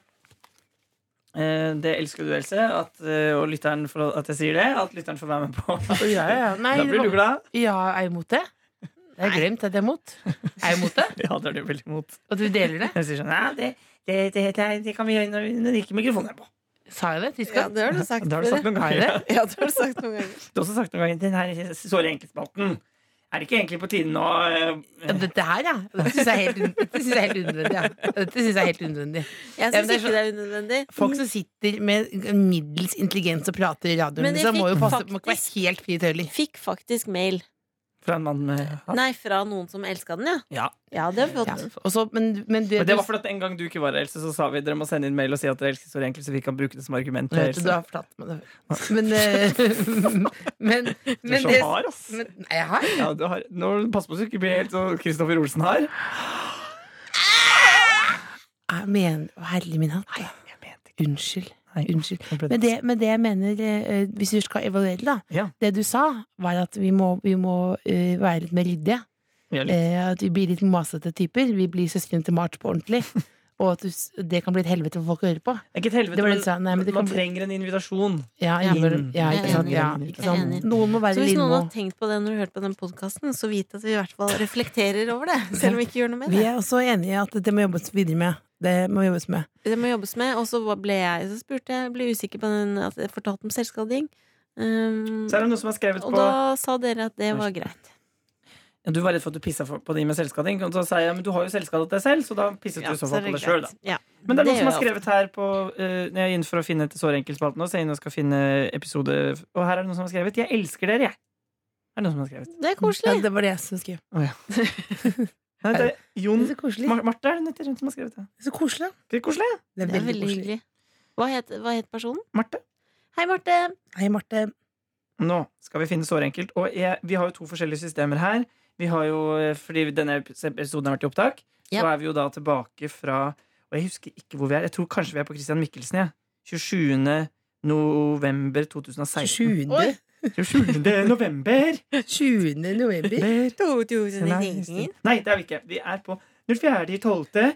Speaker 6: Eh, Det elsker du, Else, at, eh, og lytteren for at jeg sier det. At lytteren får være med på.
Speaker 3: Å, Ja, ja. Nei,
Speaker 6: Da
Speaker 3: det
Speaker 6: blir
Speaker 3: var-
Speaker 6: du glad.
Speaker 3: Ja, er jeg imot det? Jeg har glemt at jeg er imot. Er jeg imot det?
Speaker 6: Ja, det er du veldig imot.
Speaker 3: At vi deler det?
Speaker 6: Jeg sier sånn Ja, det, det, det, det, det kan vi gjøre når, vi- når ikke mikrofonen er på.
Speaker 3: Sa jeg det? Tyskland?
Speaker 2: det har du sagt.
Speaker 6: Det har du sagt noen ganger.
Speaker 2: Ja, det har du sagt noen ganger.
Speaker 6: Du har også sagt noen ganger den her såre enkeltspalten. Er det ikke egentlig på tide nå? eh,
Speaker 3: Ja, dette her, ja. Dette syns jeg er helt un- dette synes jeg er helt unødvendig. Ja. Dette synes jeg er helt unødvendig. Ja,
Speaker 2: Jeg
Speaker 3: men
Speaker 2: syns
Speaker 3: det er
Speaker 2: ikke
Speaker 3: så-
Speaker 2: det er unødvendig.
Speaker 3: Folk som sitter med middels intelligens og prater i radioen,
Speaker 2: Men jeg
Speaker 3: liksom, må jo
Speaker 2: fikk
Speaker 3: passe på må ikke være
Speaker 2: faktisk-
Speaker 3: helt fri tøyler.
Speaker 2: Fikk faktisk mail.
Speaker 6: Fra en mann med hatt?
Speaker 2: Nei, fra noen som elska den, ja.
Speaker 6: Ja.
Speaker 2: Ja, det har vi
Speaker 3: Ja.
Speaker 2: fått.
Speaker 3: og så- Men, men du, du,
Speaker 6: Men det var fordi at en gang du ikke var her, Else, så sa vi dere må sende inn mail og si at dere elsker så enkelt, så vi kan bruke det som argument. til
Speaker 3: vet du,
Speaker 6: Else.
Speaker 3: du har fortalt meg det før. Men, eh, men,
Speaker 6: Du er
Speaker 3: men
Speaker 6: så
Speaker 3: det-
Speaker 6: hard, ass.
Speaker 3: Men, nei, jeg har
Speaker 6: Ja, du har, nå Pass på så du ikke blir helt sånn Kristoffer Olsen her.
Speaker 3: Jeg mener, Ah, å, herlig min hatt.
Speaker 6: Jeg mente ikke.
Speaker 3: Unnskyld.
Speaker 6: Nei,
Speaker 3: Unnskyld.
Speaker 6: nå ble
Speaker 3: Men det, men det jeg mener, eh, eh, hvis du skal evaluere, da
Speaker 6: Ja.
Speaker 3: Det du sa, var at vi må, vi må eh, være litt mer ryddige.
Speaker 6: Vi er litt-
Speaker 3: Eh, at vi blir litt masete typer. Vi blir søsken til Mart på ordentlig. Og at du, s- det kan bli et helvete for folk å høre på.
Speaker 6: Det er ikke et helvete,
Speaker 3: det var
Speaker 6: men,
Speaker 3: litt sånn, nei, men det
Speaker 6: man
Speaker 3: kan bli-
Speaker 6: trenger en invitasjon.
Speaker 3: Ja,
Speaker 2: Ja.
Speaker 3: innimellom. ja,
Speaker 2: Jeg er
Speaker 3: ikke sant?
Speaker 2: enig.
Speaker 3: Ja, ikke
Speaker 2: Jeg er enig.
Speaker 3: sant? Noen må
Speaker 2: Så
Speaker 3: være
Speaker 2: hvis noen
Speaker 3: lindmo.
Speaker 2: har tenkt på det når du hørte på den podkasten, så vit at vi i hvert fall reflekterer over det. Selv om vi ikke gjør noe med
Speaker 3: Vi
Speaker 2: det.
Speaker 3: er også enige i at det må jobbes videre med. Det må jobbes med.
Speaker 2: Det må jobbes med. Og så ble jeg så spurte jeg, ble usikker på den at jeg fortalte om selvskading. Um,
Speaker 6: Så er det noen som har skrevet
Speaker 2: og
Speaker 6: på
Speaker 2: da sa dere at det var greit.
Speaker 6: ja, Du var redd for at du pissa for- på de med selvskading. Og så sa jeg men du har jo selvskadet deg selv, så da pisset du i så fall på deg sjøl, da.
Speaker 2: Ja.
Speaker 6: Men det er noen
Speaker 2: gjør jeg
Speaker 6: som har
Speaker 2: alltid.
Speaker 6: skrevet her på eh, Når jeg er inne for å finne til Sårenkelspalten og så er jeg inne og skal finne episode Og her er det noen som har skrevet 'Jeg elsker dere', jeg. Er det noen som har skrevet?
Speaker 2: Det er
Speaker 3: Ja,
Speaker 2: koselig.
Speaker 3: det var det jeg som skrev.
Speaker 6: Nei, det er Jon
Speaker 3: Så koselig.
Speaker 6: Mar Marte er det nøtter som har skrevet det.
Speaker 3: Så koselig.
Speaker 6: Det er koselig. ja.
Speaker 3: Det er
Speaker 2: Det er
Speaker 3: veldig,
Speaker 2: veldig
Speaker 3: koselig.
Speaker 2: hyggelig. Hva het, hva het personen?
Speaker 6: Marte.
Speaker 2: Hei, Marte.
Speaker 3: Hei, Marte.
Speaker 6: Nå skal vi finne Sårenkelt. Og jeg, vi har jo to forskjellige systemer her. Vi har jo, eh, fordi denne episoden har vært i opptak, så
Speaker 2: Ja.
Speaker 6: er vi jo da tilbake fra Og jeg husker ikke hvor vi er. Jeg tror kanskje vi er på Christian Mikkelsen, jeg. 27. november 2016.
Speaker 3: 20.
Speaker 6: 27. november!
Speaker 3: 20. november.
Speaker 6: Der.
Speaker 2: Nei,
Speaker 6: Nei, det er vi ikke. Vi er på 04.12.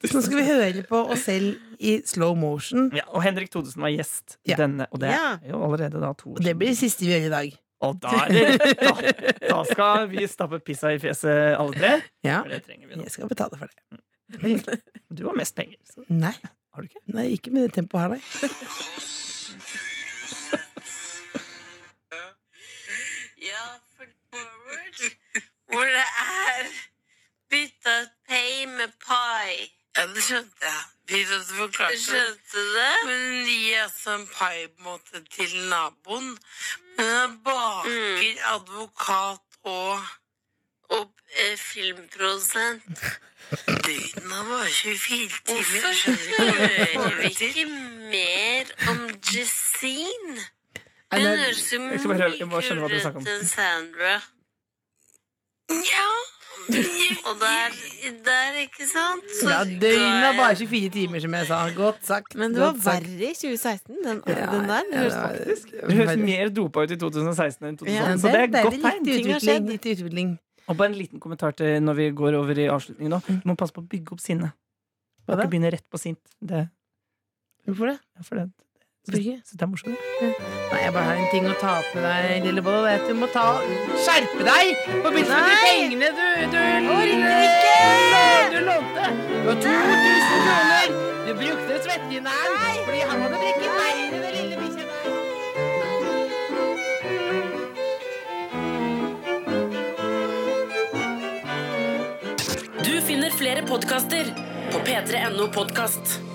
Speaker 3: Nå skal vi høre på oss selv i slow motion.
Speaker 6: Ja, og Henrik Thodesen var gjest i
Speaker 3: Ja.
Speaker 6: denne, og det
Speaker 2: Ja.
Speaker 6: er jo allerede da to
Speaker 3: Og
Speaker 6: år
Speaker 3: det
Speaker 6: siden.
Speaker 3: blir det siste vi gjør i dag.
Speaker 6: Og da, er det, da, da skal vi stappe pissa i fjeset, alle tre.
Speaker 3: Ja.
Speaker 6: For det trenger vi nå.
Speaker 3: Jeg skal betale for det.
Speaker 6: Du har mest penger. Så.
Speaker 3: Nei,
Speaker 6: Har du ikke?
Speaker 3: nei ikke med det tempoet her, nei.
Speaker 9: Ja, for forward, hvor det er bytta pay med pie. Ja, det skjønte jeg. Fint at du forklarte det. Skjønte det? Men hun gir altså en pie på en måte til naboen. Men hun baker advokat og og eh, filmprodusent. Døgnet var 24 timer. Hvorfor hører vi ikke mer om Jessine? Hun
Speaker 3: Eller-
Speaker 9: høres jo
Speaker 6: Jeg skal bare prøve- jeg må skjønne hva dere snakker om.
Speaker 9: ut enn Sandra. Ja. Og der, der, ikke sant? Så
Speaker 3: Ja, døgnet er bare 24 timer, som jeg sa. Godt sagt.
Speaker 2: Men det var verre i 2016, den, den der. Det høres faktisk-
Speaker 6: Du høres mer dopa ut i 2016 enn i 2018,
Speaker 2: Ja,
Speaker 6: så det er et godt
Speaker 3: litt
Speaker 6: tegn. Ting har
Speaker 3: utvikling.
Speaker 6: skjedd.
Speaker 3: Litt utvikling.
Speaker 6: Og bare en liten kommentar til når vi går over i avslutningen nå. Du må passe på å bygge opp sinnet. Du
Speaker 3: Hva
Speaker 6: må
Speaker 3: da?
Speaker 6: ikke begynne rett på sint. Det,
Speaker 3: Hvorfor det?
Speaker 6: ja, for det,
Speaker 3: Hvorfor ikke?
Speaker 6: så det er morsomt.
Speaker 3: Nei, jeg bare har en ting å ta på deg, lille Boll. Jeg vet Du må ta skjerpe deg! På begynnelsen av de pengene du Du orker ikke! Du lånte. Du har 2000 kroner. Du brukte svetteginneren fordi han hadde brekket beinet, den lille bikkja der.
Speaker 8: Du finner flere podkaster på p3.no podkast.